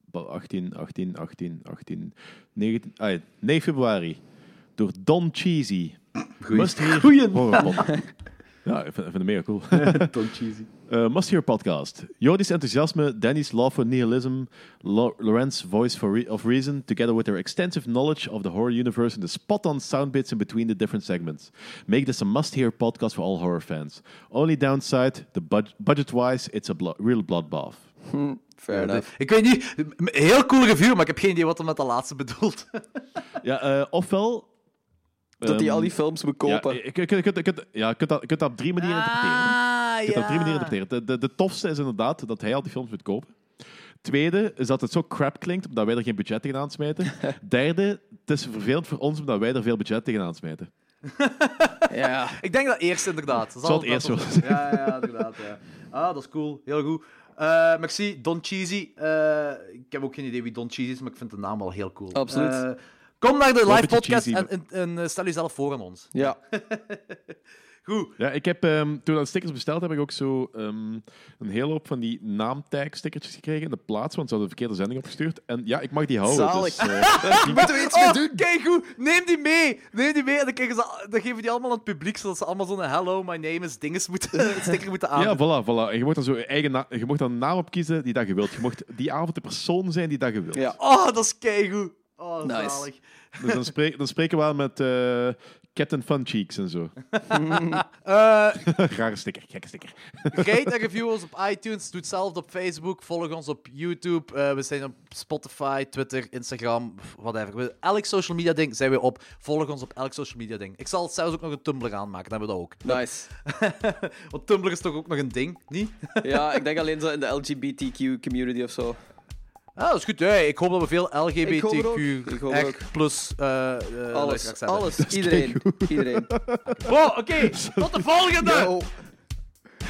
ba- 18, 18, 18, 18, 19... Ah, ja, 9 februari. Door Don Cheesy. Must Hear Horror Pod- Ja, ik vind, ik vind het mega cool.
Don Cheesy.
Eh, Must Hear Podcast. Jordi's enthousiasme, Danny's love for nihilism, Lo- Laurent's voice for re- of reason, together with their extensive knowledge of the horror universe and the spot-on sound bits in between the different segments, make this a must-hear podcast for all horror fans. Only downside, the bud- budget-wise, it's a blo- real bloodbath.
Fair enough.
Ik weet niet, m- heel cool review, maar ik heb geen idee wat er met de laatste bedoelt.
Ja, eh, ofwel...
Dat die
ehm,
al die films moet kopen.
Ja, je, je- je- je- je- ja, je kunt dat, je kunt dat op drie manieren interpreteren. Je kunt dat op drie manieren interpreteren. De, de, de tofste is inderdaad dat hij al die films moet kopen. Tweede is dat het zo crap klinkt, omdat wij er geen budget tegen aansmijten. Derde, het is vervelend voor ons, omdat wij er veel budget tegen aansmijten.
ja.
Ik denk dat eerst inderdaad. Dat
Zal het eerst
inderdaad
wel
wel- Ja, ja, inderdaad. Ja. Ah, dat is cool. Heel goed. Eh, merci, Don Cheesy. Eh, ik heb ook geen idee wie Don Cheesy is, maar ik vind de naam wel heel cool.
Absoluut.
Eh, kom naar de live
beetje
podcast
cheesy,
en, en, en, eh, stel jezelf voor aan ons.
Ja.
Goed.
Ja, ik heb, ehm, toen dat stickers besteld heb, ik ook zo ehm, een hele hoop van die naamtag-stickertjes gekregen in de plaats, want ze hadden de verkeerde zending opgestuurd. En ja, ik mag die houden.
Zalig.
Dus, eh, die-
Moeten we iets mee
Oh,
doen?
Kijk goed, neem die mee. Neem die mee en dan, krijgen ze, dan geven die allemaal aan het publiek, zodat ze allemaal zo'n hello, my name is dinges moeten, sticker moeten aan.
ja, voilà, voilà. En je mocht dan zo je eigen na- je mocht dan een naam opkiezen die dat je wilt. Je mocht die avond de persoon zijn die dat je wilt.
Ja.
Oh, dat is keigoed. Oh,
Nice.
zalig.
Dus dan, spree- dan spreken we aan met eh, Captain Fun Cheeks en zo.
Eh,
Rare sticker, gekke sticker.
Rate en review ons op iTunes. Doe hetzelfde op Facebook. Volg ons op YouTube. Eh, we zijn op Spotify, Twitter, Instagram, whatever. We- Elk social media ding zijn we op. Volg ons op elk social media ding. Ik zal zelfs ook nog een Tumblr aanmaken. Dan hebben we dat ook.
Nice.
Want Tumblr is toch ook nog een ding, niet?
Ja, ik denk alleen zo in de LGBTQ-community of zo.
Ah, dat is goed. Hey, ik hoop dat we veel
Ik hoop het ook. Ik hoop het
LGBTQ
ook.
plus eh, eh, luisteraars
Alles,
hebben.
alles, iedereen. Iedereen.
Wow, oké. Tot de volgende!
Yo.